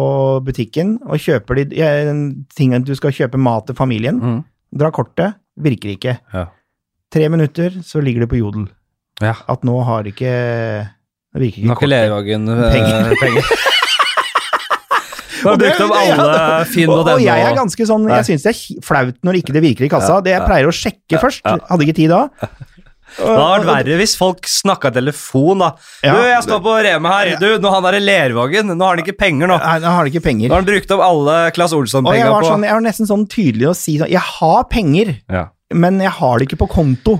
butikken og kjøper de eh, tingene du skal kjøpe mat til familien.
Mm.
Dra kortet. Virker ikke.
Ja.
tre minutter, så ligger det på Jodel.
Ja.
At nå har ikke Nå virker
Nå
ikke
har ikke Lervågen eh,
Penger.
penger. Du har
Og det-
brukt opp
det- ja,
alle
da-
finn.no.
Og, og jeg er ganske sånn,
Nei.
jeg syns det er ki- flaut når ikke det virker i kassa.
Ja,
Det jeg
ja.
pleier å sjekke først.
ja.
Hadde ikke tid da.
Det hadde vært verre hvis folk snakka telefon, da.
Ja.
Du, jeg står på Rema her. Du, nå han er i Lervågen. Nå har han ikke penger, nå.
Nei, nå har de ikke penger.
Nå har han brukt opp alle Claes
Og jeg
Olsson-penga
var,
på
sånn, jeg var nesten sånn tydelig å si sånn Jeg har penger,
ja.
men jeg har det ikke på konto.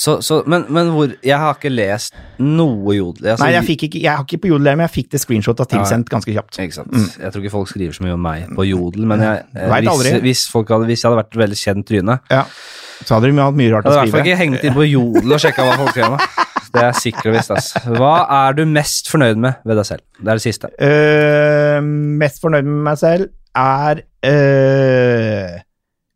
så, så, men, men hvor Jeg har ikke lest noe jodel. Altså,
Nei, jeg, fikk ikke, jeg har ikke på Jodel, men jeg fikk det screenshotet tilsendt ganske kjapt.
Ikke sant. Jeg tror ikke folk skriver så mye om meg på jodel, men jeg, eh,
Vet
hvis,
Mm. aldri.
hvis, folk hadde, hvis jeg hadde vært et veldig kjent tryne
Ja. Så hadde de hatt mye rart
Jeg hadde
å
i hvert fall
skrive.
ikke hengt inn på jodel og sjekka hva folk skrev om. Det er sikkert og visst, ass. Hva er du mest fornøyd med ved deg selv? Det er det siste.
Øh, mest fornøyd med meg selv er øh,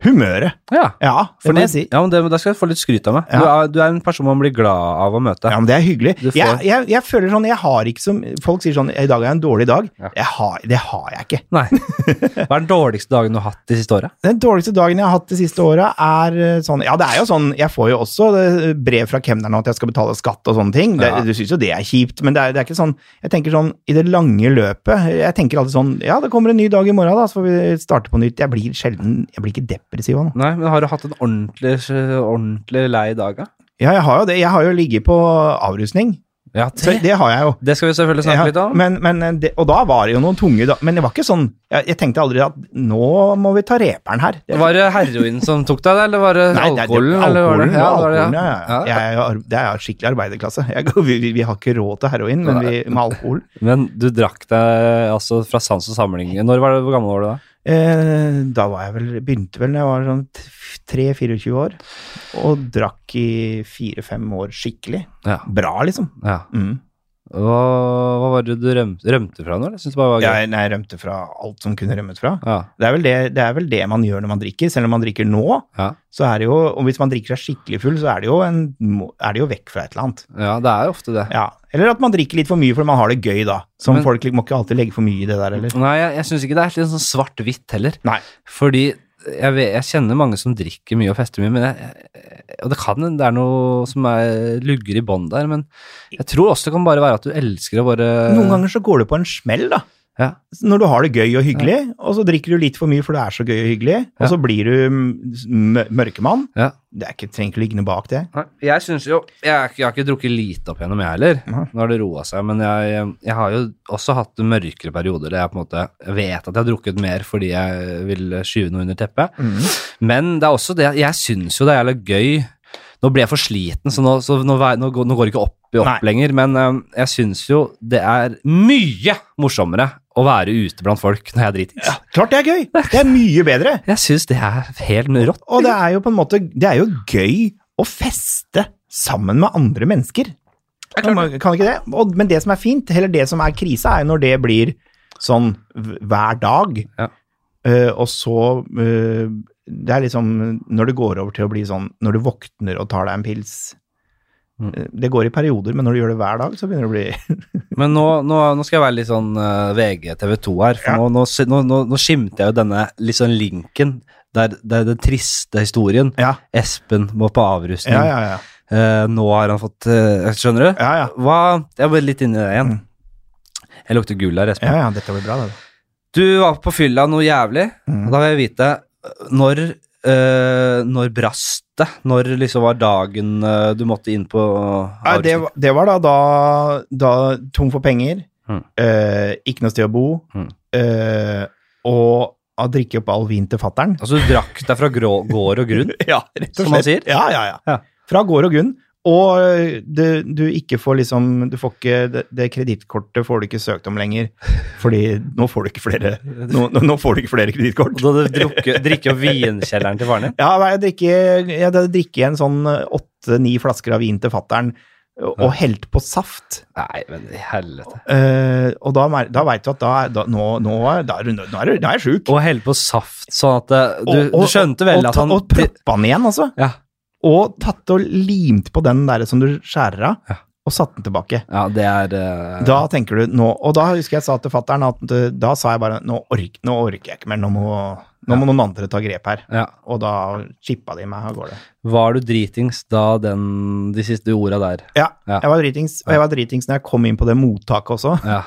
humøret.
Ja.
Ja, det
Fordi,
må jeg si.
ja, men det, da skal du få litt skryt av meg. Du,
Ja.
er, du er en person man blir glad av å møte.
Ja, men det er hyggelig.
Du får-
Jeg, jeg, jeg føler sånn, jeg har ikke som Folk sier sånn I dag er en dårlig dag.
Ja.
Jeg har, det har jeg ikke.
Nei. Hva er den dårligste dagen du har hatt de siste åra?
Den dårligste dagen jeg har hatt de siste åra, er eh, sånn Ja, det er jo sånn Jeg får jo også eh, brev fra kemneren om at jeg skal betale skatt og sånne ting. Det,
Ja.
Du syns jo det er kjipt, men det er, det er ikke sånn Jeg tenker sånn i det lange løpet Jeg tenker alltid sånn Ja, det kommer en ny dag i morgen, da, så får vi starte på nytt. Jeg blir sjelden Jeg blir ikke depressiv av noe.
Nei, men har du hatt en ordentlig, ordentlig lei dag, da?
Ja, jeg har jo det. Jeg har jo ligget på avrusning.
Ja,
Så
det,
det har jeg jo.
det skal vi selvfølgelig snakke
Ja,
litt om.
Men, men det, og da var det jo noen tunge da, Men det var ikke sånn Jeg, jeg tenkte aldri at nå må vi ta reperen her. Det,
Var det heroin som tok deg, eller var det
Nei, det- det-
alkoholen? eller var det- ja,
alkoholen,
det var det,
alkoholen,
ja.
ja, ja.
Ja.
Jeg er jo ar- Det er jo skikkelig arbeiderklasse. Jeg, går- vi, vi- vi har ikke råd til heroin, men vi, med alkohol.
Men du drakk deg altså fra sans og samling. Når var det, Hvor gammel var du da?
Eh, da var jeg vel, begynte vel når jeg var sånn 3-24 år, og drakk i 4-5 år skikkelig.
Ja.
Bra, liksom.
ja.
Mm.
Hva, hva var det du rømte, rømte fra nå? eller? Jeg synes det bare var gøy.
Jeg, nei, jeg rømte fra alt som kunne rømmet fra.
Ja.
Det er, vel det, det er vel det man gjør når man drikker, selv om man drikker nå.
Ja.
så er det jo, og hvis man drikker seg skikkelig full, så er det jo, en, må- er det jo vekk fra et eller annet.
ja, det er jo ofte det.
Ja. Eller at man drikker litt for mye fordi man har det gøy, da. Som
Men-
folk må ikke alltid legge for mye i det der, eller?
Nei, jeg, jeg syns ikke det er litt sånn svart-hvitt heller.
Nei.
Fordi jeg, vet, jeg kjenner mange som drikker mye og fester mye, men jeg, jeg- og det kan hende det er noe som er lugger i bånn der, men jeg tror også det kan bare være at du elsker å bare
Noen ganger så går du på en smell, da.
Eh. Ja,
Når du har det gøy og hyggelig, og så drikker du litt for mye for det er så gøy og hyggelig, og
Ja.
så blir du m- m- mørkemann.
ja.
Det er ikke, trenger ikke ligge noe bak det.
Nei, Jeg syns jo jeg, er ikke- jeg har ikke drukket lite opp gjennom, jeg heller.
Nei.
Nå har det roa seg, men jeg, jeg har jo også hatt mørkere perioder der jeg på en måte jeg vet at jeg har drukket mer fordi jeg vil skyve noe under teppet. Men det er også det Jeg syns jo det er jævlig gøy Nå ble jeg for sliten, så nå, så nå, vei- nå, går- nå går det ikke opp i opp
Nei.
lenger. Men øhm, jeg syns jo det er mye morsommere å være ute blant folk når jeg er dritings.
Klart det er gøy! Det er mye bedre.
Jeg syns det er helt rått.
Og det er jo på en måte Det er jo gøy å feste sammen med andre mennesker. Man Kan ikke det? Og, men det som er fint, eller det som er krisa, er jo når det blir sånn v- hver dag.
Ja.
Eh, og så eh, Det er liksom når det går over til å bli sånn når du våkner og tar deg en pils.
Mm.
Eh, Det går i perioder, men når du gjør det hver dag, så begynner det å bli
Men nå, nå, nå skal jeg være litt sånn eh, VG TV 2 her, for
Ja.
nå, nå, nå, nå, nå skimter jeg jo denne litt sånn linken. Der, der den triste historien.
Ja,
Espen må på avrustning.
ja, ja. ja.
Eh, nå har han fått eh, Skjønner du?
ja, ja.
Hva Jeg var litt inni det igjen. Jeg lukter gull her, Espen.
ja, ja dette blir bra, det.
Du var på fylla noe jævlig.
Mm.
og Da vil jeg vite eh, når eh, Når brast det? Når liksom var dagen eh, du måtte inn på
Nei, det,
avrustning?
var- det var da, da, da tom for penger,
Mm.
eh, ikke noe sted å bo,
Mm.
eh, og å drikke opp all vin til fattern.
Altså, du drakk deg fra grå, gård og grunn?
Ja, rett
Som man sier.
Ja, ja, ja.
Ja.
Fra gård og grunn. Og eh, du, du ikke får liksom Du får ikke Det, det kredittkortet får du ikke søkt om lenger, fordi nå får du ikke flere Nå, nå- nå får du ikke flere
Og
kredittkort.
da hadde du drukket- drikker jo vinkjelleren til faren din?
Ja, nei, jeg drikker, jeg hadde drikket en sånn åtte-ni flasker av vin til fattern, og, og helt på saft.
Nei, men i helvete.
Eh, og da, mer- da veit du at da, er- da, nå, nå, er- da, er du- nå, er, du- nå er jeg sjuk.
Og helle på saft, sånn at eh, du,
Og- og-
du skjønte vel
og,
at han
Og proppa den igjen, altså.
ja,
Og tatt og limt på den der som du skjærer av,
Ja.
og satt den tilbake.
ja, det er eh,
Da tenker du nå Og da husker jeg sa til fattern at eh, da sa jeg bare nå, ork, nå orker jeg ikke mer, nå må, Nå må noen andre ta grep her.
Ja.
Og da chippa de meg av gårde.
Var du dritings da den, de siste orda der?
Ja,
Ja.
jeg var dritings. Og jeg var dritings når jeg kom inn på det mottaket også,
Ja.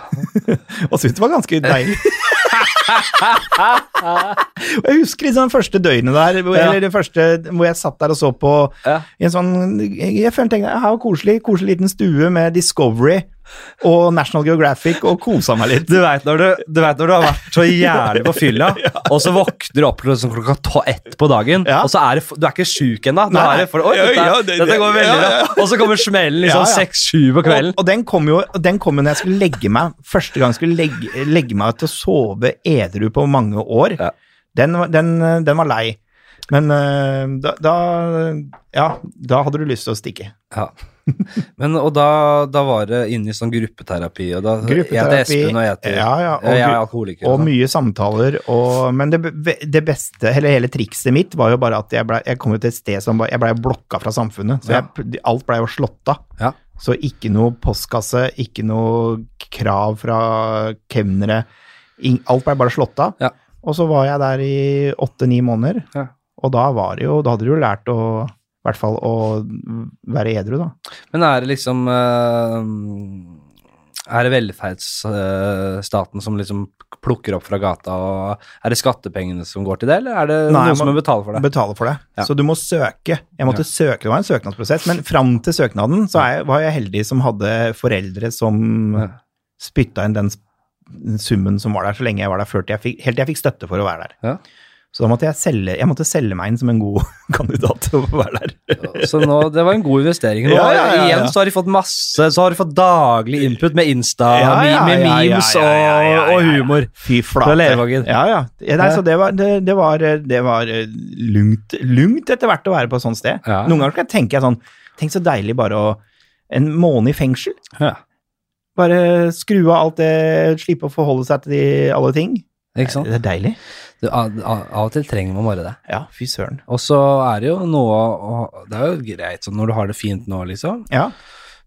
og syntes det var ganske deilig. og jeg husker liksom de første døgnet der, hvor,
Ja.
eller det første hvor jeg satt der og så på
Ja.
i en sånn Jeg følte tenkte, her var koselig, koselig liten stue med Discovery og National Geographic, og kosa meg litt.
Du veit når, du- du vet når du har vært så jævlig på fylla, og så våkner du opp liksom klokka to- ett på dagen,
Ja.
og så er det, f- du er ikke sjuk ennå. Da
Nei,
er det for, Oi,
ja,
dette,
ja, det-
dette går
det-
veldig
ja,
bra.
ja.
Og så kommer smellen liksom
Ja, ja.
seks-sju på kvelden.
Og, og den kom jo og den kom jo når jeg skulle legge meg, første gang jeg skulle legge, legge meg til å sove edru på mange år.
Ja.
Den, var- den, eh, den var lei. Men eh, da, da Ja, da hadde du lyst til å stikke.
Ja. Men, og da, da var det inne i sånn gruppeterapi, og da jeg heter
Gruppeterapi,
Espen og jeg heter
ja, ja, og
jeg er
gru-
alkoholiker.
Og
sånn.
mye samtaler og Men det, be- det beste, eller hele trikset mitt, var jo bare at jeg, ble, jeg kom jo til et sted som var, Jeg blei blokka fra samfunnet, så
Ja.
jeg, alt blei jo slått av.
Ja.
Så ikke noe postkasse, ikke noe krav fra kemnere. Ing- Alt blei bare slått av.
Ja.
Og så var jeg der i åtte-ni måneder,
Ja.
og da var det jo Da hadde du jo lært å i hvert fall å være edru, da.
Men er det liksom eh, Er det velferdsstaten som liksom plukker opp fra gata, og er det skattepengene som går til det, eller er det
Nei,
noen som
man-
må betale for det?
Betale for det.
Ja.
Så du må søke. Jeg måtte søke, det var en søknadsprosess, men fram til søknaden så er jeg, var jeg heldig som hadde foreldre som
Ja.
spytta inn den s- summen som var der så lenge jeg var der, før til jeg fikk, helt til jeg fikk støtte for å være der.
Ja.
Så da måtte jeg selge, jeg måtte selge meg inn som en god kandidat til å være der.
Så nå, det var en god investering. Nå,
Ja, ja, ja, ja.
Igjen så har de fått masse Så har de fått daglig input med Insta,
Ja, ja,
med
ja, ja,
memes
ja, ja, ja, ja,
og, og
ja.
humor.
Fy flate.
Fra Levevågen.
Ja, ja. ja nei,
Ja.
så det var, det, det var, det var eh, lungt, lungt etter hvert å være på et sånt sted.
Ja.
Noen ganger kan jeg tenke sånn, tenk så deilig bare å, en måned i fengsel.
Ja.
Bare skru av alt det, slippe å forholde seg til de, alle ting.
Ikke sant?
Det er deilig.
Du, av, av av og til trenger man bare det.
Ja, fy søren.
Og så er det jo noe å- Det er jo greit sånn når du har det fint nå, liksom.
Ja,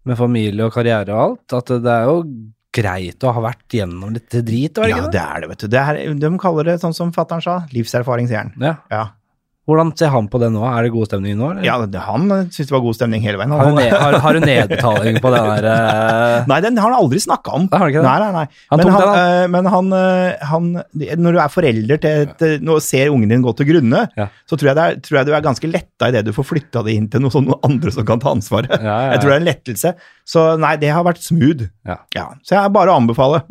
med familie og karriere og alt, at det er jo greit å ha vært gjennom litt drit, var det
ja
ikke det?
det er det, vet du. Det er, de kaller det, sånn som fattern sa, livserfaring, sier han.
Ja.
Ja,
Hvordan ser han på det nå? Er det god stemning nå? eller?
ja det- han syntes det var god stemning hele veien.
Har du,
Han,
ned, har, har du nedbetaling på det der eh,
nei, den har han aldri snakka om.
Nei, har han ikke det?
Nei, nei, nei.
Han
men
tok
han,
den,
eh, men han, eh, han de- Når du er forelder til et eh, Nå ser ungen din gå til grunne,
Ja.
så tror jeg, det er, tror jeg du er ganske letta idet du får flytta det inn til noen sånne andre som kan ta ansvaret.
ja, ja.
Jeg tror det er en lettelse. Så nei, det har vært smooth.
Ja.
Så jeg er bare å anbefale.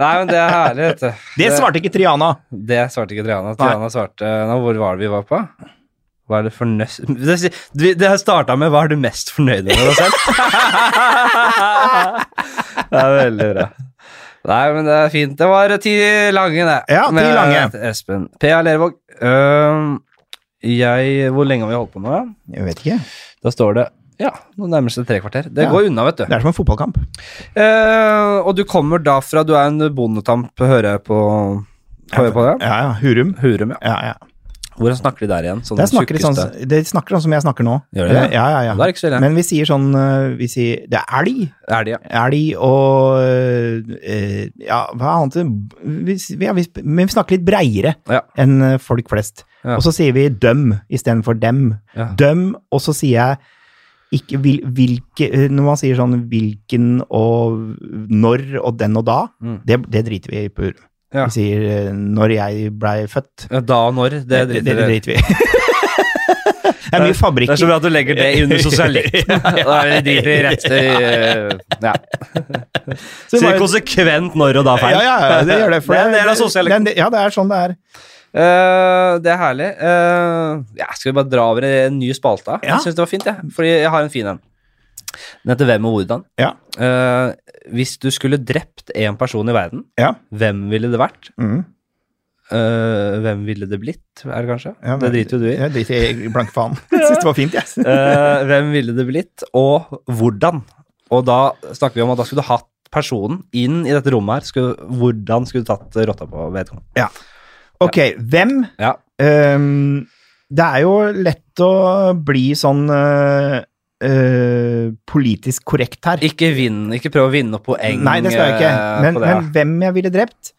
Nei, men det er herlig, vet du.
Det svarte ikke Triana.
Det svarte ikke Triana. Triana svarte Nå, hvor var det vi var på? Hva er det fornøst Det, det, det starta med 'Hva er du mest fornøyd med deg selv?' det er veldig bra. Nei, men det er fint. Det var ti lange, det.
Ja, ti
Med
lange.
Espen. P.A. Lervåg. Øhm, jeg Hvor lenge har vi holdt på nå? da?
Jeg vet ikke.
Da står det ja, nå nærmer det seg tre kvarter. Det
Ja.
går unna, vet du.
Det er som en fotballkamp.
Eh, og du kommer da fra Du er en bondetamp, hører jeg på, hører jeg på det?
Ja, ja. Hurum.
Hurum, ja.
Ja, ja.
Hvordan snakker de der igjen? Sånn
Det snakker, de sånn,
tjukkeste-
det snakker sånn som jeg snakker nå.
Gjør de det?
Ja, ja,
Ja,
ja.
Det er ikke så ille.
Men vi sier sånn eh, Vi sier det er elg.
er de, ja.
Elg og eh, Ja, hva annet? Vi, ja, vi, men vi snakker litt breiere
Ja.
enn eh, folk flest.
Ja.
Og så sier vi døm istedenfor dem.
Ja.
Døm, og så sier jeg ikke, hvil, hvilke, eh, Når man sier sånn hvilken og når og den og da,
Mm.
det, det driter vi i på Hurum.
Ja.
Vi sier eh, når jeg blei født. Eh,
Ja, Da og når, det
Det,
driter
det
dere i.
driter vi i. Det er mye
Det er så
fabrikker.
bra at du legger det under sosialisten. Da er det driter i rett i- Ja.
Så det var
Sier
jo-
konsekvent når og da feil.
Ja, ja, ja, det gjør det. for
Det er en del av sosialisten.
det- Ja, det er sånn det er.
Eh, det er herlig. Eh, ja, skal vi bare dra over i en ny spalte?
Ja.
Jeg syns det var fint, jeg. Fordi jeg har en fin en. Den heter Hvem og hvordan.
Ja.
Eh, hvis du skulle drept én person i verden,
Ja.
hvem ville det vært?
Mm.
Eh, hvem ville det blitt, er det kanskje?
Ja,
det driter jo du i.
Jeg driter i blank faen. Jeg syns det var fint, jeg.
Eh, hvem ville det blitt, og hvordan? Og da snakker vi om at da skulle du hatt personen inn i dette rommet her. Skulle, hvordan skulle du tatt rotta på vedkommende?
Ok, hvem
Ja.
Ehm, Det er jo lett å bli sånn eh, eh, politisk korrekt her.
Ikke vinn, ikke prøv å vinne noe poeng
Nei, det skal jeg ikke.
eh,
Men,
på det.
men hvem jeg ville drept?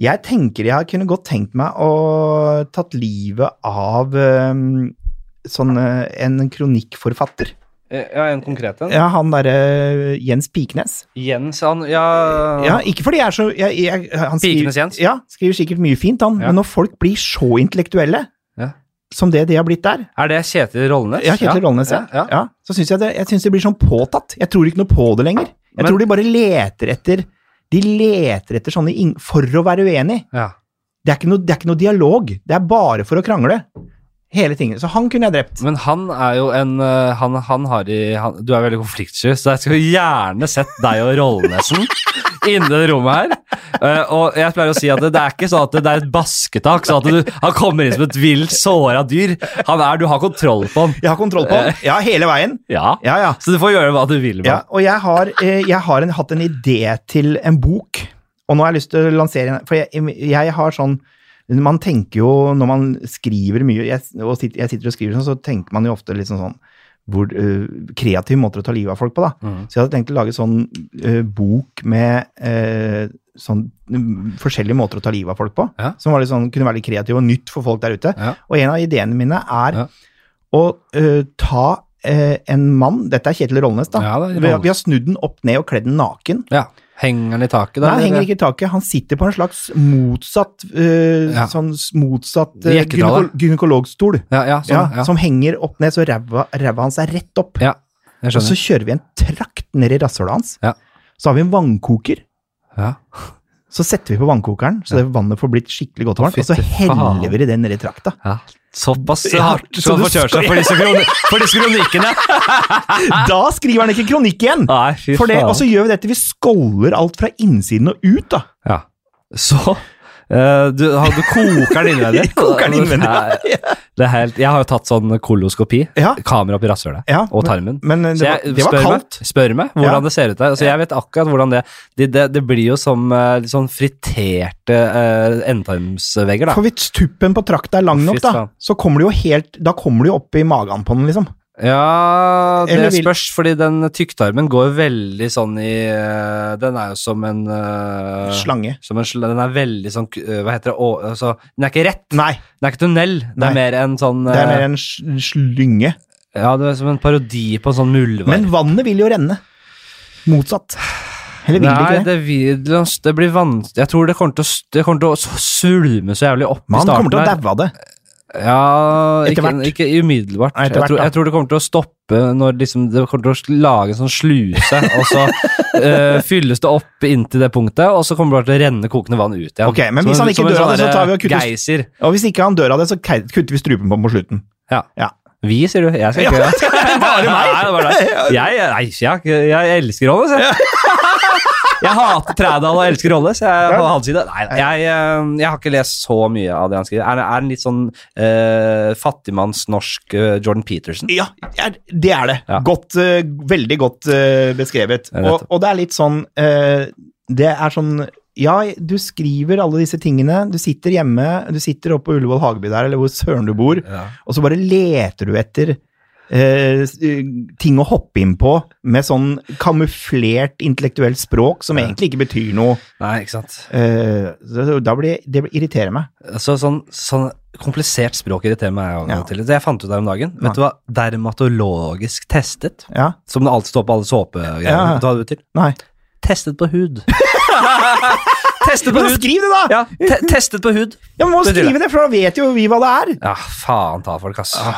Jeg tenker jeg kunne godt tenkt meg å tatt livet av øhm, sånn øh, en kronikkforfatter.
Eh, Ja, en konkret en.
Ja, han derre eh, Jens Pikenes.
Jens, han Ja.
Ja, ikke fordi jeg er så jeg, jeg, han skriver,
Pikenes Jens.
Ja, skriver sikkert mye fint, han,
Ja.
men når folk blir så intellektuelle
Ja.
som det de har blitt der
Er det Kjetil Rollenes?
Ja, Kjetil Rollnes, ja.
ja.
ja. Så syns jeg, det- jeg synes det blir sånn påtatt. Jeg tror ikke noe på det lenger. Jeg
Men-
tror de bare leter etter De leter etter sånne ing- for å være uenig.
ja.
Det er, ikke noe, det er ikke noe dialog. Det er bare for å krangle. Hele tingen. Så han kunne jeg drept.
Men han er jo en eh, Han, han har i han, Du er veldig konfliktsky, så jeg skulle gjerne sett deg og Rollnesen inne i det rommet her. Eh, og jeg pleier å si at det, det er ikke sånn at det, det er et basketak, sånn at du, han kommer inn som et vilt såra dyr. Han er Du har kontroll på han.
Jeg har kontroll på han. Ja, hele veien.
Ja.
Ja, ja.
Så du får gjøre hva du vil med
ja
han.
og jeg har, eh, jeg har en, hatt en idé til en bok, og nå har jeg lyst til å lansere en For jeg, jeg har sånn Man tenker jo når man skriver mye, jeg, og sitter, jeg sitter og skriver sånn, så tenker man jo ofte litt sånn sånn hvor, eh, kreative måter å ta livet av folk på, da.
Mhm.
Så jeg hadde tenkt å lage sånn eh, bok med eh, sånn mm, forskjellige måter å ta livet av folk på,
Ja.
som var litt sånn, kunne være litt kreativ og nytt for folk der ute.
Ja.
Og en av ideene mine er
Ja.
å eh, ta eh, en mann, dette er Kjetil Rollnes da,
Ja, det er
vi, har-
Rollnes.
vi har snudd den opp ned og kledd den naken.
Ja. Henger han i taket,
Nei,
da?
han henger
eller?
ikke i taket, han sitter på en slags motsatt, eh,
Ja.
sånn s- motsatt eh,
Jekkedrale.
gynekolog, gynekologstol,
Ja, ja, sånn,
ja,
ja.
som henger opp ned, så ræva ræva hans er rett opp.
ja. Jeg
Og så
skjønner.
kjører vi en trakt ned i rasshølet hans.
Ja.
Så har vi en vannkoker.
Ja.
Så setter vi på vannkokeren, så det vannet får blitt skikkelig godt varmt.
Å,
Og så
fytti
heller
faen.
vi det ned i trakta.
Ja. Såpass
Ja,
hardt
så
skal
du
man få kjørt seg for disse, kroni for disse kronikkene!
Da skriver han ikke kronikk igjen!
Nei, fy
For det,
faen.
og så gjør vi dette. Vi skåler alt fra innsiden og ut, da.
Ja. Så eh, du, har- du koker den innvendig?
Koker den innvendig, ja.
Det er- Det er helt, jeg har jo tatt sånn koloskopi.
Ja.
Kamera opp i rasshølet.
Ja,
Og
men-
tarmen.
Men det
Så
var,
jeg
det var
spør
kaldt.
Meg, spør meg hvordan
Ja.
det ser ut der. Altså, jeg vet akkurat hvordan det Det, det, det blir jo som eh, litt sånn friterte eh, endetarmsvegger, da.
For hvis tuppen på trakta er lang nok,
Fy
da,
faen.
så kommer du jo helt Da kommer du jo opp i magen på den, liksom.
Ja,
Eller
det
vil-
spørs, fordi den tykktarmen går veldig sånn i eh, Den er jo som en eh,
Slange.
Som en sl den er veldig sånn eh, Hva heter det? Å, altså, den er ikke rett.
Nei,
Den er ikke tunnel. Det
Nei.
er mer en sånn
det er
eh,
mer en sl- slynge.
Ja, det er som en parodi på en sånn muldvarp.
Men vannet vil jo renne. Motsatt. Eller vil det
Nei,
ikke det?
det, vil, det blir vanskelig Jeg tror det kommer til å, s- det kommer til å s- svulme så jævlig opp i
Man
starten.
kommer til å
her.
daue av det.
Ja,
Etter
ikke,
hvert.
ikke umiddelbart.
Nei, etter
jeg,
hvert,
tror,
da.
jeg tror det kommer til å stoppe når liksom, det kommer til å sl- lage en sånn sluse, og så eh, fylles det opp inntil det punktet, og så kommer det bare til å renne kokende vann ut igjen.
Ok, men
Som
hvis
en-
han ikke
som en
dør av
sånn
det, så
der
tar vi og kutter-
Geiser.
Og hvis ikke han dør av det, så ke- kutter vi strupen på ham på slutten.
Ja.
Ja.
Vi, sier du. Jeg skal ikke gjøre det.
Bare meg!
Nei, det var deg. Jeg, nei, jeg, jeg elsker Rolles, jeg. Jeg hater Trædal og elsker Rolles. Jeg, er på hans side. Nei, nei, jeg, eh, jeg har ikke lest så mye av det han skriver. Er, er en litt sånn eh, fattigmanns-norsk eh, Jordan Peterson?
Ja, er- det er det.
Ja.
Godt, eh, veldig godt eh, beskrevet.
Ja,
Og,
nettopp.
og det er litt sånn eh, Det er sånn Ja, du skriver alle disse tingene. Du sitter hjemme, du sitter oppe på Ullevål Hageby der, eller hvor søren du bor,
Ja.
og så bare leter du etter eh, s- eh, ting å hoppe inn på med sånn kamuflert intellektuelt språk som egentlig ikke betyr noe.
Nei, ikke sant.
Eh, så da blir det irriterer meg.
Så sånn, sånn komplisert språk irriterer meg av og
Ja.
til. Det jeg fant ut der om dagen.
Ja.
Vet du hva? Dermatologisk testet.
Ja,
Som det alltid står på alle såpegreiene.
Ja.
Vet du hva det betyr?
nei.
Testet på hud. testet på
Men da
hud!
skriv det, da!
Ja, te testet på hud.
Ja, men må
Det er
skrive det, for da vet jo vi hva det er.
Ja, faen ta folk, ass. Ah.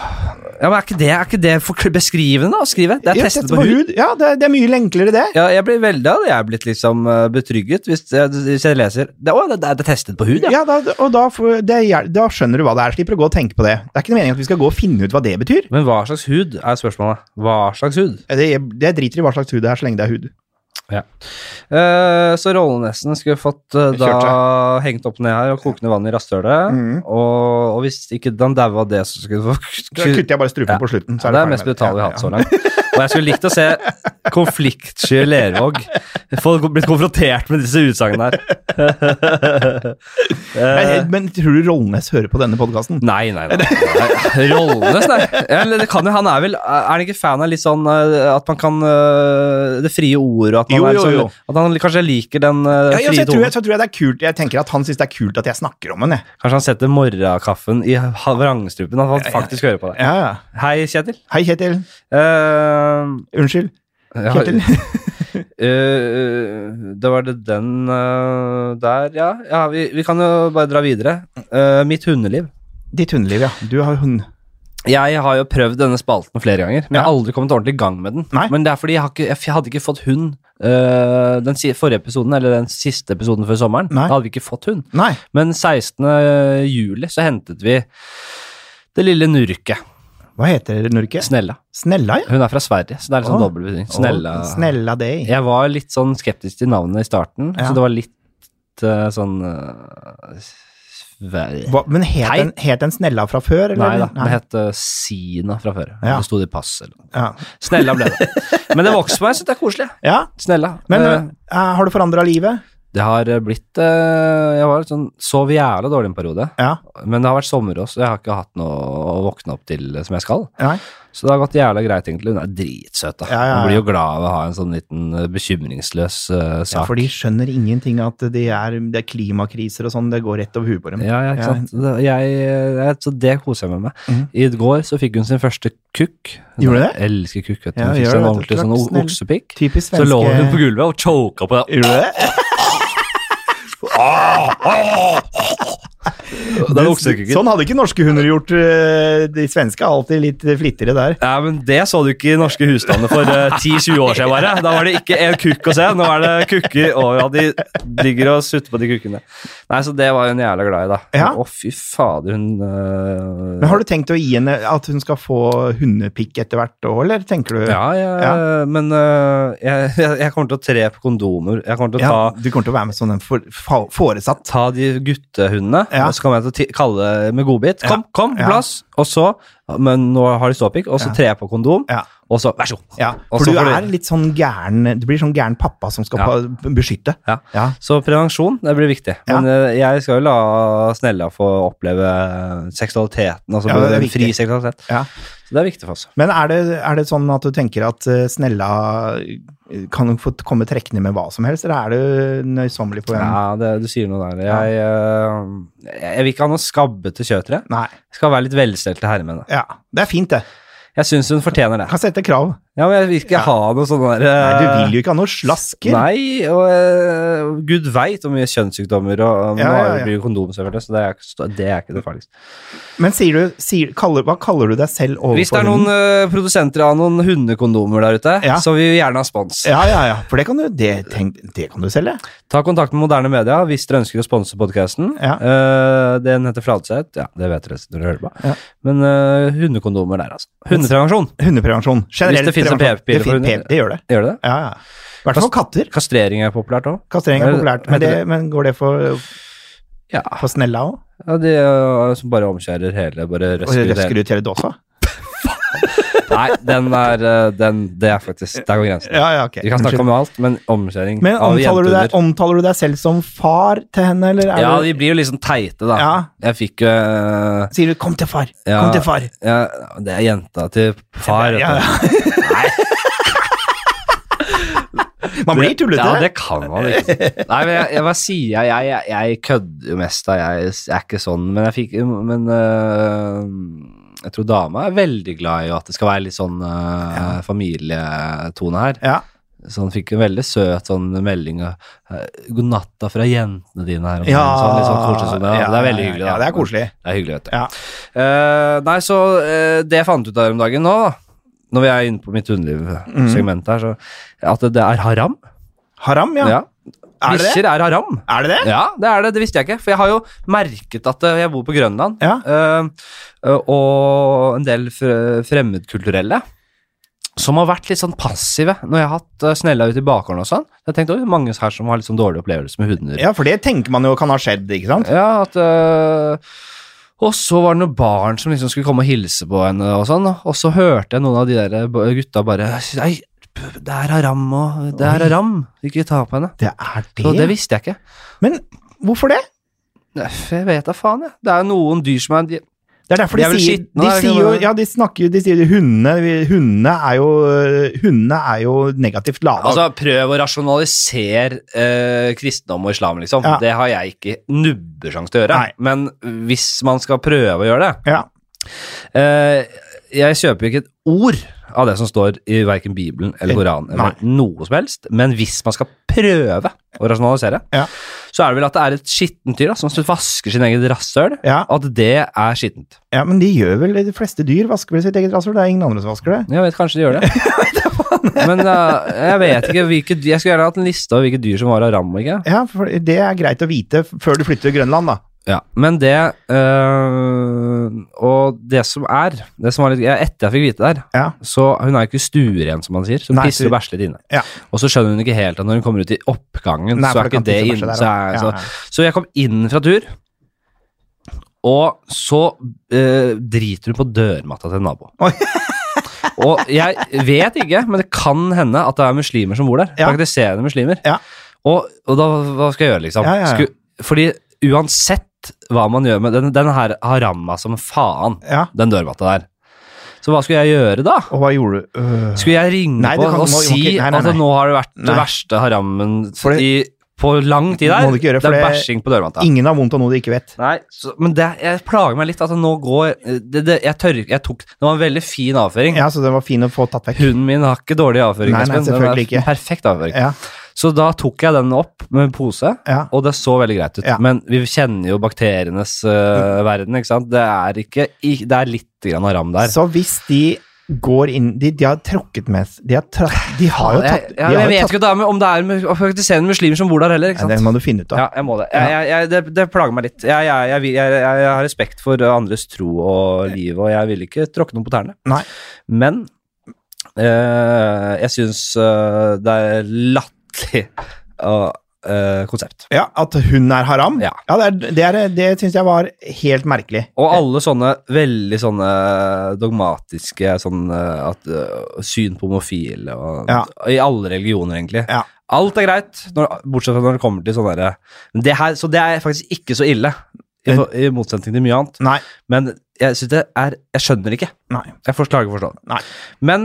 Ja, men er ikke det, er ikke det for beskrivende da, å skrive? Det er
Ja,
testet
teste
på hud.
Ja, det, er- det er mye enklere det.
Ja, jeg blir veldig av det. Jeg er blitt liksom eh, betrygget hvis jeg, hvis jeg leser det, Å, det, det er testet på hud, ja.
Ja, da, og da, får- det, hjel- da skjønner du hva det er. Slipper å gå og tenke på det. Det er ikke noe meningen at vi skal gå og finne ut hva det betyr.
Men hva slags hud er spørsmålet? Hva slags hud?
Det, det driter i hva slags hud det er, så lenge det er hud.
Eh, så Rollenesen skulle fått eh, da hengt opp ned her og kokende vann i rasshølet.
Mhm.
Og, og hvis ikke han daua av det, så skulle du få
Så kutter jeg bare strupen på slutten. Så
Ja, det er
er ferdig
mest
med det.
brutale vi har hatt så langt. Og jeg skulle likt å se konfliktsky Lervåg få blitt konfrontert med disse utsagnene her.
Men, men tror du Rollnes hører på denne podkasten?
Nei, nei, nei. nei. Rollenes, nei. Eller det kan jo, han er vel Er han ikke fan av litt sånn eh, at man kan eh, Det frie ordet, og at, man
Jo,
er
jo,
liksom-
jo.
at han kanskje liker den eh,
Ja, ja, så
frie
jeg, tror,
tonen.
jeg, så tror jeg det er kult Jeg tenker at han syns det er kult at jeg snakker om den, jeg.
Kanskje han setter morgenkaffen i ha- vrangstrupen, at han faktisk hører på deg.
Ja, ja.
Hei, Kjetil.
Hei, Kjetil.
Eh,
Unnskyld.
ja,
Kjetil.
eh, da var det den eh, der, ja. ja vi, vi kan jo bare dra videre. Eh, mitt hundeliv.
Ditt hundeliv, ja. Du har hund.
Jeg har jo prøvd denne spalten flere ganger, men jeg har
Ja.
aldri kommet ordentlig i gang med den.
Nei.
Men det er fordi jeg, har ikke, jeg hadde ikke fått hund eh, den si- forrige episoden, eller den siste episoden før sommeren.
Nei.
Da hadde vi ikke fått hund.
Nei.
Men 16. juli så hentet vi det lille nurket,
Hva heter det, Norge?
Snella.
Snella, ja.
Hun er fra Sverige, så det er litt sånn
Å.
dobbel betydning. Snella.
Å, Snella Day.
Jeg var litt sånn skeptisk til navnet i starten,
Ja.
så det var litt eh, sånn eh, Sverige.
Hva, men het
Hei.
den, het den Snella fra før,
Nei
eller?
da, det het eh, Sina fra før.
Ja.
Det sto det i passet. eller noe.
Ja.
Snella ble det. Men det vokser på meg, så det er koselig.
ja.
Snella.
Men
Eh,
eh, har du forandra livet?
det har eh, blitt eh, Jeg var litt sånn, sov jævla dårlig en periode,
Ja.
men det har vært sommer også, og jeg har ikke hatt noe å våkne opp til eh, som jeg skal.
Nei.
Så det har gått jævla greit, egentlig. Hun er dritsøt, da.
Ja, ja, ja.
Hun blir jo glad av å ha en sånn liten eh, bekymringsløs eh,
Ja,
sak.
for de skjønner ingenting at de er, det er klimakriser og sånn, det går rett over huet på dem.
Ja, ja, ikke
Ja.
sant. Det- Jeg, jeg, så det koser jeg meg med.
Mhm.
I går så fikk hun sin første kukk.
Gjorde du det?
Jeg elsker kukk, vet du.
Ja,
Hun fikk
gjør
seg en
det, vet du.
ordentlig sånn
Klart, snill.
oksepikk.
Typisk
Så
svenske
lå hun på gulvet og choka på det.
Gjorde du det?
Den oksekukken.
Sånn hadde ikke norske hunder gjort. eh, De svenske er alltid litt flittigere der.
Ja, men Det så du ikke i norske husstander for eh, 10-20 år siden. bare. Da var det ikke en kukk å se. Nå er det kukker, og ja, de ligger og sutter på de kukkene. Nei, Så det var hun jævla glad i, da.
Ja.
Å, fy fader, hun eh,
Men har du tenkt å gi henne at hun skal få hundepikk etter hvert òg, eller tenker du
ja, jeg, men eh, jeg, jeg jeg kommer til å tre på kondomer. Jeg kommer til å
Ja,
ta
du kommer til å være med som en for, fa- foresatt?
ta de guttehundene,
Ja.
og så kommer jeg til å ti- kalle det med godbit. Kom, kom,
Ja.
plass! Og så, men nå har de ståpikk, og så
Ja.
trer jeg på kondom,
Ja.
og så, vær så god.
Ja,
Og
for
så
du
får du-
er litt sånn gæren Du blir sånn gæren pappa som skal
Ja.
pa- beskytte.
Ja.
Ja.
Så prevensjon, det blir viktig.
Ja.
Men eh, jeg skal jo la Snella få oppleve seksualiteten, altså
Ja, det er
en fri
viktig.
seksualitet.
Ja.
Så det er viktig for oss.
Men er det, er det sånn at du tenker at eh, Snella eh, kan hun få komme trekkende med hva som helst, eller er du nøysommelig på hvem?
Ja, det, du sier noe der. Jeg, eh, jeg vil ikke ha noe skabbete kjøtere.
Nei.
Jeg skal være litt velstelte herremenn.
Ja. Det er fint, det.
Jeg syns hun fortjener det.
Kan sette krav.
Ja, men jeg vil ikke
Ja.
ha noe sånn der
Nei,
eh,
du vil jo ikke ha noe slasker.
Nei, og eh, gud veit hvor mye kjønnssykdommer og
Ja,
Nå
ja,
har
ja.
vi brukt kondom, selvfølgelig, så det er, ikke så- det er ikke det farligste.
Men sier du, sier, kaller, hva kaller du deg selv overfor
Hvis det er noen
hunden?
eh, produsenter av noen hundekondomer der ute,
Ja.
så vil vi gjerne ha spons.
Ja, ja, ja. For det kan du, det, tenk, det kan du selge.
Ta kontakt med moderne media hvis dere ønsker å sponse podkasten.
Ja.
den heter Fladseth. Ja, det vet dere når dere hører på.
Ja.
Men eh, hundekondomer der, altså. Hundeprevensjon,
Hundeprevensjon. Generelt
det finnes en
prevensjon.
p-pille
Det
for
fin-
hunder.
p- Det gjør det.
gjør det det?
Ja, ja. I hvert fall for katter.
Kastrering er populært òg.
Kastrering er
Eller,
populært, men,
heter
det, men går det for,
Eh, Ja.
for snella òg?
ja, de eh, som bare omskjærer hele, bare røsker
Og
ut hele.
røsker ut hele dåsa?
Nei, den er, eh, den, det er faktisk Der går grensen.
Ja, ja, ok.
Vi kan snakke om alt, men omskjæring
Men
av
omtaler du, deg,
jentehunder
omtaler du deg selv som far til henne, eller er
Ja,
du
de blir jo liksom teite, da.
Ja.
Jeg fikk jo eh,
Sier du 'kom til far',
Ja.
'kom til far'?
ja, Det er jenta til far. vet
Ja,
du.
Man blir tullete.
Ja, det kan man ikke. Nei, men jeg, jeg, hva sier jeg? Jeg, jeg, jeg kødder jo mest, da. Jeg, jeg er ikke sånn, men jeg fikk Men eh, jeg tror dama er veldig glad i at det skal være litt sånn eh, familietone her.
Ja.
Så han fikk en veldig søt sånn melding av eh, 'God natta fra jentene dine' her. om
Ja,
dagen», sånn, litt sånn koselig som det. Ja, det er veldig hyggelig.
Ja,
da.
det er koselig.
Det er hyggelig, vet du.
Ja.
Eh, nei, så eh, det jeg fant ut her om dagen nå, da, når vi er inne på mitt hundeliv-segment her, så at det er haram.
Haram, ja.
Ja.
Er det det?
Bikkjer er haram.
Er det det?
Ja, det er det. Det visste jeg ikke. For jeg har jo merket at eh, jeg bor på Grønland.
Ja.
Eh, og en del fre- fremmedkulturelle som har vært litt sånn passive når jeg har hatt eh, snella ute i bakgården og sånn. Jeg tenkte, oi, mange her som har litt sånn dårlig opplevelse med hunder.
Ja, for det tenker man jo kan ha skjedd, ikke sant?
Ja, at øh, Og så var det noen barn som liksom skulle komme og hilse på henne, og sånn, og så hørte jeg noen av de der eh, b- gutta bare Nei, p- der er Ram, og der
Oi.
er Ram. Ikke ta på henne.
Det er det.
Så det visste jeg ikke.
Men hvorfor det?
Nei, Jeg vet da faen, jeg. Det er jo noen dyr som er de-
Det er derfor
De
de,
er vel
sier,
skitne,
de
da,
sier
kan
jo
man-
Ja, de snakker jo De sier hundene Hundene er jo Hundene er jo negativt lada.
Altså, prøv å rasjonalisere eh, kristendom og islam, liksom.
Ja.
Det har jeg ikke nubbesjanse til å gjøre.
Nei.
Men hvis man skal prøve å gjøre det
ja.
eh, Jeg kjøper ikke et ord av det som står i verken Bibelen eller Koranen eller noe som helst, men hvis man skal prøve å rasjonalisere,
Ja.
så er det vel at det er et skittent dyr da, som vasker sin egen rasshøl,
Ja,
at det er skittent.
ja, men de gjør vel De fleste dyr vasker vel sitt eget rasshøl. Det er ingen andre som vasker det.
Jeg vet kanskje de gjør det. Men eh, jeg vet ikke hvilke dyr Jeg skulle gjerne hatt en liste over hvilke dyr som var av ram. ikke?
Ja, for Det er greit å vite f- før du flytter til Grønland, da.
Ja, men det øh, Og det som er, det som var litt, ja, Etter jeg fikk vite det her,
Ja.
så hun er jo ikke stueren, som man sier. Så hun
Nei,
pisser og
så-
bæsjer litt inne.
Ja.
Og så skjønner hun ikke helt at når hun kommer ut i oppgangen,
Nei,
så
for
er
det kan
ikke det altså-
tisse og
inne.
bæsje
Så,
der,
er-
ja. Ja, ja.
så, så jeg kom inn fra tur, og så øh, driter hun på dørmatta til en nabo.
Oi.
og jeg vet ikke, men det kan hende at det er muslimer som bor der.
Ja.
Praktiserende muslimer.
Ja.
Og, og da, hva skal jeg gjøre, liksom?
Ja, ja, ja.
Sku, fordi uansett hva man gjør med den, den her har ramma som faen,
ja.
den dørmatta der. Så hva skulle jeg gjøre da?
Og hva gjorde du? Øh.
Skulle jeg ringe
Nei, du
på
kan-
og
må- du må
si
ikke- nei, nei, nei.
at nå har det vært det
Nei.
verste harammen
For
i,
det-
på lang tid der?
Må du ikke gjøre, for
det er
det-
bæsjing på dørmatta.
Ingen har vondt av noe de ikke vet.
Nei, så, men det, jeg plager meg litt. Altså, nå går det, det, Jeg tør ikke Jeg tok Det var en veldig fin avføring.
Ja, Så det var fin å få tatt vekk.
Hunden min har ikke dårlig avføring.
Nei, nei,
Espen. Den er
selvfølgelig ikke.
Perfekt avføring.
Ja,
Så da tok jeg den opp med en pose.
ja.
Og det så veldig greit ut,
Ja. Mm.
men vi kjenner jo bakterienes øh, verden, ikke sant? Det er, ikke, i- det er litt grann av ram der.
Så hvis de går inn De, de har tråkket med De har, tra, de har jo tatt
jeg, jeg, jeg vet ikke da, men om det er mu- praktiserende muslimer som bor der heller, ikke
ja, Det
sant?
må du finne ut av.
Ja, jeg må det. Jeg, jeg, jeg, det, det plager meg litt. Jeg, jeg, jeg, vil- jeg, jeg, jeg har respekt for andres tro og liv, og jeg vil ikke tråkke noen på tærne.
Nei.
Men øh, jeg syns det er latterlig øh, øh, konsept.
Ja, At hun er haram?
Ja.
det, er, det, er, det syns jeg var helt merkelig.
Og alle sånne veldig sånne eh, dogmatiske sånn eh, at, eh, syn på homofile og,
Ja.
I alle religioner, egentlig.
Ja.
Alt er greit, når, bortsett fra når det kommer til sånne derre Men det her- Så det er faktisk ikke så ille, i,
Men-
i motsetning til mye annet.
Nei.
Men jeg synes det er Jeg skjønner det ikke.
Nei.
Jeg forstår- klarer ikke å forstå det.
Nei.
Men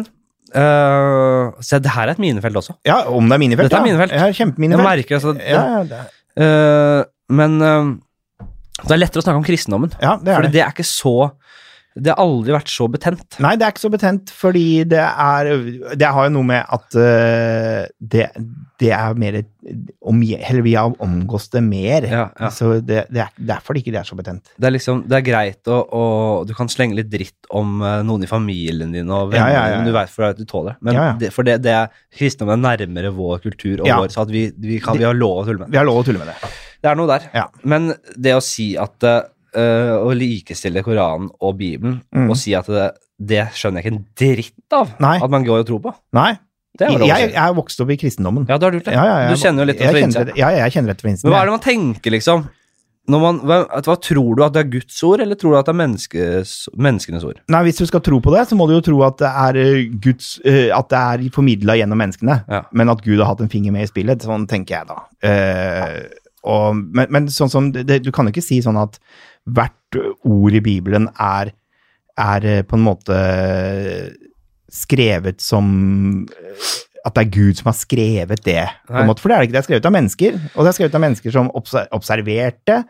eh, Se, det her er et minefelt også.
Ja, om det er minefelt.
Dette er
ja.
minefelt.
Ja,
Jeg
Kjempeminefelt.
merker altså
Ja, ja, det,
eh, Men eh, det er lettere å snakke om kristendommen.
ja, det er
Fordi
det.
det er ikke så Det har aldri vært så betent.
Nei, det er ikke så betent, fordi det er Det har jo noe med at øh, det, det er mer om, Eller vi har omgås det mer.
Ja, ja.
Så det, det er derfor det ikke er så betent.
Det er liksom, det er greit å, å Du kan slenge litt dritt om eh, noen i familien din og
Ja,
venner,
ja, ja, ja.
men du veit for deg at du tåler men
Ja, ja.
det. For det, det er, kristendommen er nærmere vår kultur og
Ja.
vår, så at vi, vi, kan, vi har lov å tulle med.
Vi har lov å tulle med det.
Det er noe der.
Ja.
Men det å si at eh, Å likestille Koranen og Bibelen
Mm.
og si at det, det skjønner jeg ikke en dritt av
Nei.
at man går og tror på.
Nei.
Det er jo lov å
Jeg,
si.
jeg er vokst opp i kristendommen.
Ja, du har gjort det.
Ja, ja, jeg-
du kjenner jo litt
jeg
at du
kjenner
innser
det- Ja, ja, jeg kjenner etter vinsten.
Men hva er det man tenker, liksom? Når man, hva, at- hva tror du at det er Guds ord, eller tror du at det er menneskes, menneskenes ord?
Nei, Hvis du skal tro på det, så må du jo tro at det er eh, Guds, eh, at det er formidla gjennom menneskene,
Ja.
men at Gud har hatt en finger med i spillet. Sånn tenker jeg da. Eh, og, men, men sånn som det, det- Du kan jo ikke si sånn at hvert ord i Bibelen er, er eh, på en måte skrevet som eh, At det er Gud som har skrevet det. På
Nei.
en måte, for det er det ikke. Det er skrevet av mennesker, og det er skrevet av mennesker som obser observerte.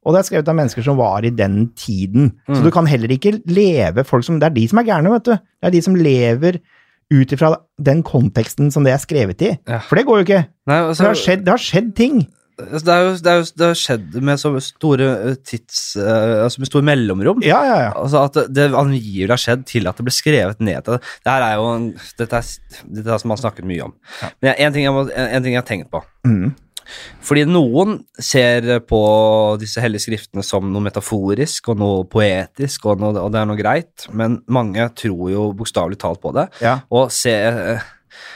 Og det er skrevet av mennesker som var i den tiden. Så
Mm.
du kan heller ikke leve folk som, Det er de som er gærne, vet du. Det er de som lever ut ifra den konteksten som det er skrevet i.
Ja.
For det går jo ikke.
Nei,
For
altså,
det har skjedd, det har skjedd ting.
altså, det, er jo, det, er jo, det har skjedd med så store eh, tids... eh, altså med store mellomrom.
Ja, ja, ja.
Altså At det- det angivelig har skjedd til at det ble skrevet ned til det. Det her er jo en, dette, er, s- dette er som man har snakket mye om. Men jeg, en, ting jeg må, en, en ting jeg har tenkt på
Mm.
Fordi noen ser på disse hellige skriftene som noe metaforisk og noe poetisk, og, noe, og det er noe greit, men mange tror jo bokstavelig talt på det.
ja.
Og se,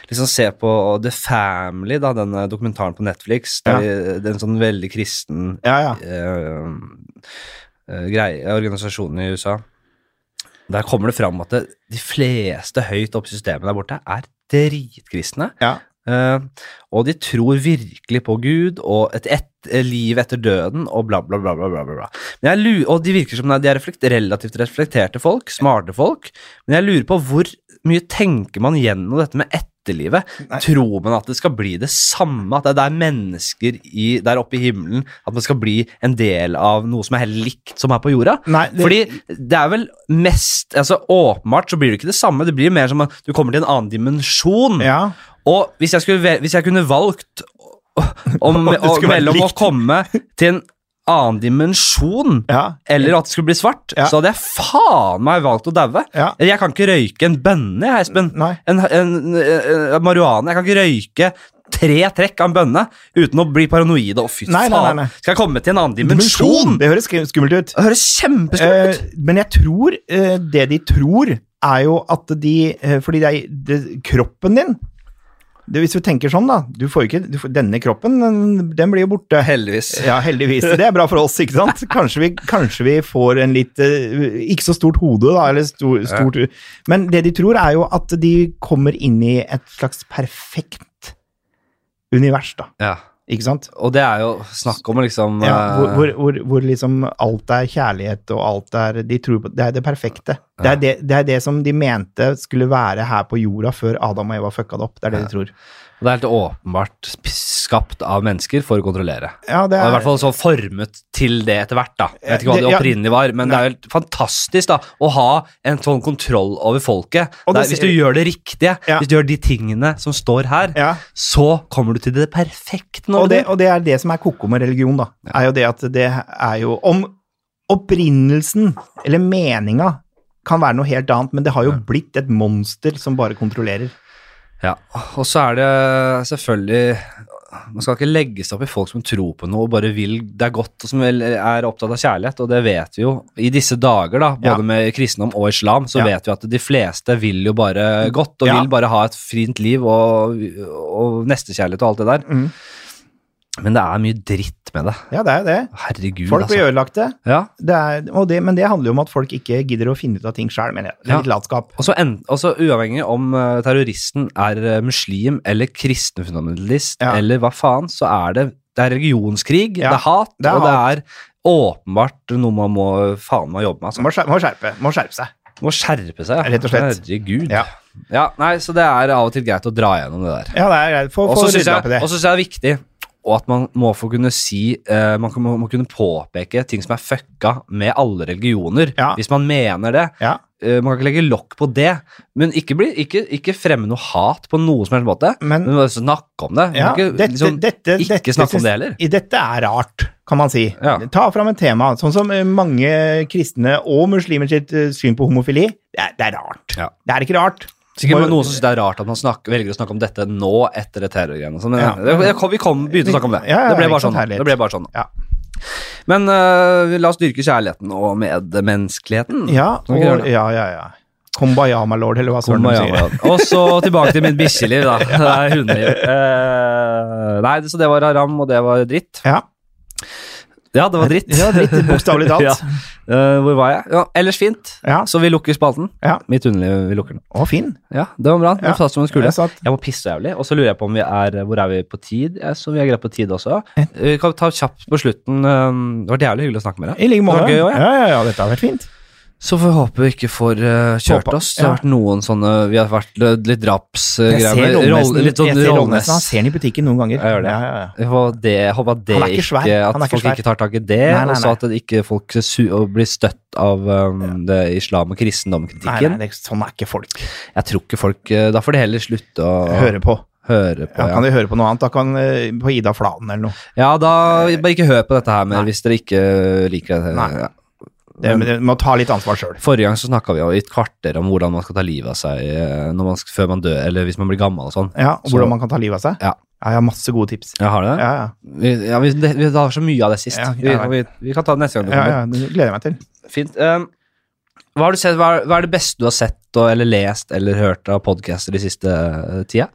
liksom se på The Family, da, denne dokumentaren på Netflix, der, det er en sånn veldig kristen
Ja, ja.
eh, eh, grei, organisasjonen i USA. Der kommer det fram at det, de fleste høyt oppe i systemet der borte er dritkristne.
Ja.
Eh, og de tror virkelig på Gud og et, et eh, liv etter døden og bla, bla, bla. bla, bla, bla. bla. Men jeg lurer, og de virker som de er reflekt, relativt reflekterte folk, smarte folk. Men jeg lurer på hvor mye tenker man gjennom dette med etterlivet?
Nei.
Tror man at det skal bli det samme, at det er mennesker i, der oppe i himmelen, at man skal bli en del av noe som er helt likt som her på jorda?
Nei, det,
Fordi det er vel mest altså Åpenbart så blir det ikke det samme. Det blir mer som at du kommer til en annen dimensjon.
Ja.
Og hvis jeg, skulle, ve- hvis jeg kunne valgt om,
At det skulle
og,
være
mellom å
likt.
komme til en annen dimensjon
ja.
eller at det skulle bli svart,
Ja.
så hadde jeg faen meg valgt å daue.
Ja.
Jeg kan ikke røyke en bønne, jeg, Espen.
Nei.
En, en, eh, marihuana. Jeg kan ikke røyke tre trekk av en bønne uten å bli paranoid. Å, fy
Nei, nei, nei,
faen.
nei.
Skal jeg komme til en annen dimensjon?
Det høres skri- skummelt ut.
Det høres kjempeskummelt ut.
Eh, men jeg tror eh, Det de tror, er jo at de eh, Fordi det er det, kroppen din det, Hvis du tenker sånn, da du får jo ikke, du får, Denne kroppen, den, den blir jo borte.
Heldigvis.
Ja, heldigvis. Det er bra for oss, ikke sant? Kanskje vi, kanskje vi får en litt eh, Ikke så stort hode, da, eller sto, stort Men det de tror, er jo at de kommer inn i et slags perfekt univers, da.
Ja.
Ikke sant?
Og det er jo snakk om å liksom
Ja, hvor,
eh,
hvor, hvor, hvor liksom alt er kjærlighet, og alt er De tror på Det er det perfekte. Det er det, det er det som de mente skulle være her på jorda før Adam og Eva fucka det opp. Det er det de tror.
Det er helt åpenbart sp- skapt av mennesker for å kontrollere.
Ja,
Og
det
i
er,
hvert fall så formet til det etter hvert, da. Jeg vet ikke hva
Eh,
det
det- ja.
opprinnelig var, men det er jo helt fantastisk da, å ha en sånn kontroll over folket. Der,
Og det
hvis
ser-
du gjør det riktige,
Ja.
hvis du gjør de tingene som står her,
ja.
så kommer du til det perfekte når
og, det,
du
og det er det som er ko-ko med religion, da. Er jo det at det er jo Om opprinnelsen eller meninga kan være noe helt annet, men det har jo blitt et monster som bare kontrollerer.
Ja, og så er det selvfølgelig Man skal ikke legge seg opp i folk som tror på noe og bare vil det er godt, og som vel er opptatt av kjærlighet, og det vet vi jo. I disse dager, da, både
Ja.
med kristendom og islam, så
Ja.
vet vi at de fleste vil jo bare godt, og
Ja.
vil bare ha et fint liv og, og nestekjærlighet og alt det der.
Mm.
Men det er mye dritt med det.
Ja, det er jo det.
Herregud,
Folk blir
altså.
ødelagte.
Ja.
Det er, og det, men det handler jo om at folk ikke gidder å finne ut av ting sjøl, mener jeg. Det
Ja.
er litt latskap.
Og så en- og så uavhengig om eh, terroristen er eh, muslim eller kristenfundamentalist
Ja.
eller hva faen, så er det, det er religionskrig,
Ja,
det er hat,
det er
og det er åpenbart noe man må faen meg jobbe med. Altså.
Må skjerpe, må skjerpe, må skjerpe seg.
Man må skjerpe seg. ja.
Rett og slett.
Herregud.
Ja.
Ja, nei, så det er av og til greit å dra gjennom det der.
Ja, det er greit. Få,
Og
få
så syns
rydda opp i
jeg,
det.
og så synes jeg det er viktig og at man må få kunne si eh, Man kan- må, må kunne påpeke ting som er fucka med alle religioner,
Ja.
hvis man mener det.
Ja,
Eh, man kan ikke legge lokk på det, men ikke, bli, ikke, ikke fremme noe hat på noen som helst måte.
Men-
Men, bare snakke om det. Man
ja.
kan ikke,
Dette,
liksom,
dette,
ikke
dette,
snakke om det heller.
I dette er rart, kan man si.
Ja.
Ta fram et tema, sånn som eh, mange kristne og muslimer sitt eh, syn på homofili. Det er, det er rart.
Ja.
Det er ikke rart.
Sikkert
Bare-
noen som synes det er rart at man snakker, velger å snakke om dette nå etter det terrorgreiene. og sånn, Men
Ja.
det- det- vi kom, begynte å snakke om det.
Ja, ja,
det, ble
ikke
bare
sant,
sånn,
herlighet.
det ble bare sånn.
Ja.
Men eh, la oss dyrke kjærligheten og medmenneskeligheten.
Ja,
Kan vi ikke gjøre
og,
det?
ja, ja, ja. Kumbaya, my lord, eller hva søren de
Kumbaya,
sier.
ja. Og så tilbake til mitt bikkjeliv, da. Det er hundeliv. Eh, nei, så det var haram, og det var dritt.
Ja,
Ja, det var dritt.
ja litt bokstavelig
Ja.
talt.
Eh, hvor var jeg? Ja, ellers fint.
Ja.
Så vi lukker spalten.
Ja.
Mitt underliv, vi lukker den.
Å, fin.
Ja, det var bra. Det
Ja.
satt som en skule.
Jeg satt-
Jeg må pisse jævlig, og så lurer jeg på om vi er eh, Hvor er vi på tid? Ja, så vi er greit på tid også. Vi Eh, kan ta kjapt på slutten. eh, Det var jævlig hyggelig å snakke med deg.
I like måte.
Det var gøy også,
Ja,
ja.
ja, ja, dette har vært fint.
Så får vi håpe vi ikke får eh, kjørt
Håper-
oss. Det har
ja.
vært noen sånne Vi har vært l- litt
Jeg
drapsgreier.
ser Rollnesen,
litt sånn
jeg ser
Rollnes.
Rollnesen, han ser den i butikken noen ganger.
Jeg gjør det.
Ja, ja, ja.
Jeg håper det, jeg håper at det
Han er ikke svær.
ikke At
Han er ikke
folk
svær.
ikke tar tak i det,
Nei, nei,
og så
nei.
at det ikke folk su og blir støtt av um, det islam- og
Nei,
kristendomkritikken.
nei, det, sånn er ikke folk.
Jeg tror ikke folk eh, Da får de heller slutte å høre,
Høre på.
på.
Ja,
Ja,
kan de høre på noe annet? Da kan eh, på Ida Fladen eller noe.
ja da bare ikke hør på dette her mer
Nei.
hvis dere ikke liker det.
Nei.
Ja.
Det, men det må ta litt ansvar sjøl.
Forrige gang så snakka vi jo i et kvarter om hvordan man skal ta livet av seg eh, når man, skal- før man dør, eller hvis man blir gammel og sånn.
Ja, og
Så-
hvordan man kan ta livet av seg?
Ja.
jeg har masse gode tips.
Ja, har du det?
Ja, ja.
Vi, ja, vi, det, vi har så mye av det sist.
Ja,
vi,
jeg
vi, vi kan ta det neste gang du
ja,
kommer.
ja det gleder jeg meg til.
Fint. Ehm, hva, har du sett, hva, er- hva er det beste du har sett og, eller lest eller hørt av podcaster de siste eh, tida?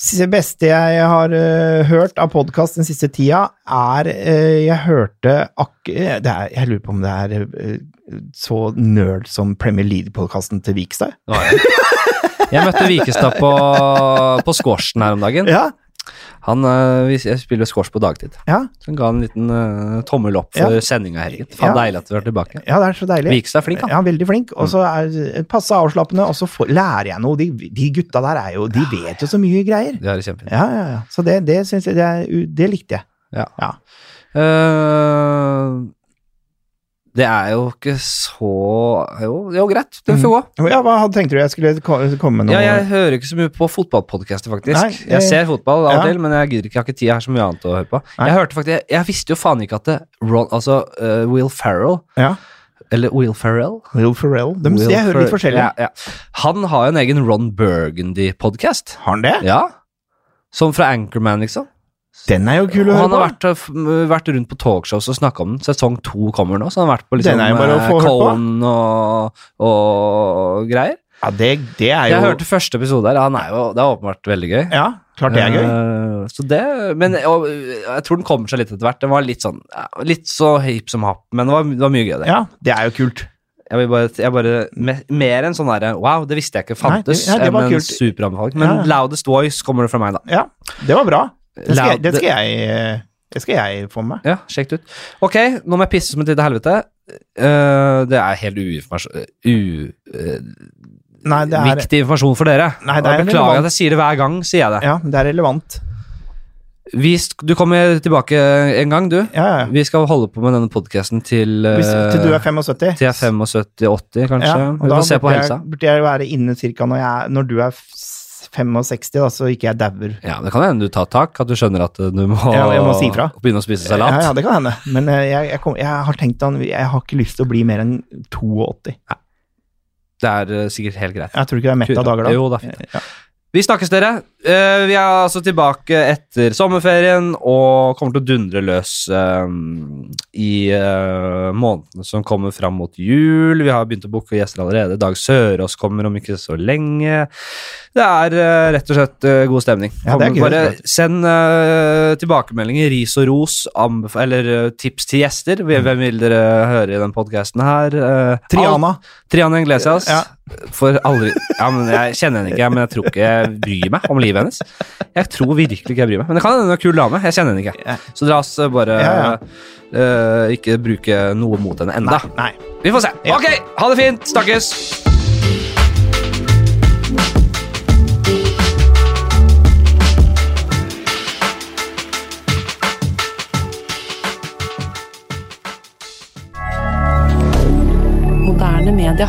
Det beste jeg har eh, hørt av podkast den siste tida, er eh, Jeg hørte ak eh, det er, Jeg lurer på om det er eh, så nerd som Premier League-podkasten til Vikstad?
Det var jeg. Jeg møtte Vikestad på, på squashen her om dagen.
Ja,
Han, eh, vi- jeg spiller squash på dagtid.
ja,
Så han ga en liten eh, tommel opp for
Ja.
sendinga i helgen. Faen,
Ja.
deilig at du er tilbake.
ja, det er så deilig.
Vikestad er flink, han.
Ja, Mm. veldig flink. Og så er eh, passe avslappende, og så får- lærer jeg noe. De, de gutta der er jo De vet jo så mye greier.
De har det kjempefint.
Ja, ja, ja. Så det, det syns jeg det, er, u- det likte jeg.
Eh, det er jo ikke så Jo, jo greit.
Mm.
Den får gå.
Ja, hva hadde- tenkte du jeg skulle ko- komme med noe?
Ja, jeg hører ikke så mye på fotballpodcaster, faktisk.
Nei,
jeg,
jeg-
ser fotball av og
Ja.
til, men jeg gidder ikke. Jeg har ikke tid her så mye annet å høre på.
Nei.
Jeg hørte faktisk, jeg, jeg visste jo faen ikke at det, Ron, altså eh, Will Ferrell,
Ja.
eller Will Ferrell
Will Ferrell. De,
Will
jeg hører litt
Fer-
forskjellig.
Ja, ja. Han har jo en egen Ron Burgundy-podkast.
Har han det?
Ja. Som fra Anchorman, liksom.
Den er jo
Og
kul å høre
han
på.
har vært, eh, f- vært rundt på talkshows og snakka om den. Sesong to kommer nå, så han har vært på liksom,
Den er jo bare å
eh,
få hørt på.
Conan og, og greier.
Ja, det, det er jo
Jeg hørte første episode her. Han er jo, det er åpenbart veldig gøy.
Ja, klart det er gøy.
Eh, så det, men og, eh, jeg tror den kommer seg litt etter hvert. Den var litt sånn eh, Litt så hip som happ, men det var, det var mye gøy. Det.
Ja, det er jo kult.
Jeg vil bare, jeg bare me- Mer enn sånn derre wow, det visste jeg ikke fantes,
Nei, det- ja, det var
enn en
kult.
superanbefaling. Men
Ja.
Loudest Voice kommer det fra meg, da.
Ja, det var bra. Det skal, jeg-
Loud-
det skal jeg eh, Det skal jeg få med meg.
Ja, sjekk det ut. Ok, nå må jeg pisse som et lite helvete. Eh, det er helt uinformasjon Uviktig
Nei, det er,
informasjon for dere.
Nei, det
Og jeg
er
beklager
relevant.
at jeg sier det hver gang, sier jeg det.
ja, det er relevant.
Vi sk- du kommer tilbake en gang, du.
Ja, ja.
Vi skal holde på med denne podkasten til, eh,
Hvis, til du er 75.
til jeg er 75-80, kanskje.
Ja, og
vi
da
får se på
burde jeg-
helsa.
Burde jeg være inne cirka når, jeg, når du er f- 65, da, så ikke jeg dauer.
Ja, Det kan hende du tar tak, at du skjønner at eh, du må,
Ja, jeg må si fra.
begynne å spise salat.
Ja, ja, det kan hende. Men eh, jeg, jeg, kom, jeg har tenkt at jeg har ikke lyst til å bli mer enn 82.
Det er eh, sikkert helt greit.
Jeg tror ikke det er mett av dager da.
Jo, det er fint.
Ja.
Vi snakkes, dere. Eh, vi er altså tilbake etter sommerferien og kommer til å dundre løs eh, i eh, månedene som kommer fram mot jul. Vi har begynt å booke gjester allerede. Dag Sørås kommer om ikke så lenge. Det er eh, rett og slett eh, god stemning.
Ja, det er gøy,
Bare
rett og
send eh, tilbakemeldinger, ris og ros, anbef eller eh, tips til gjester. Hvem vil dere høre i den podkasten her? Eh, alt-
Triana.
Triana Iglesias.
Ja.
For aldri Ja, men Jeg kjenner henne ikke, men jeg tror ikke jeg bryr meg om livet hennes. Jeg tror virkelig ikke jeg bryr meg, men det kan hende hun er en kul dame. Jeg kjenner henne
Ja.
ikke. Så la oss bare
Ja,
eh, ikke bruke noe mot henne enda.
Nei.
Vi får se.
Ja.
Ok, ha det fint. Snakkes.
Moderne media.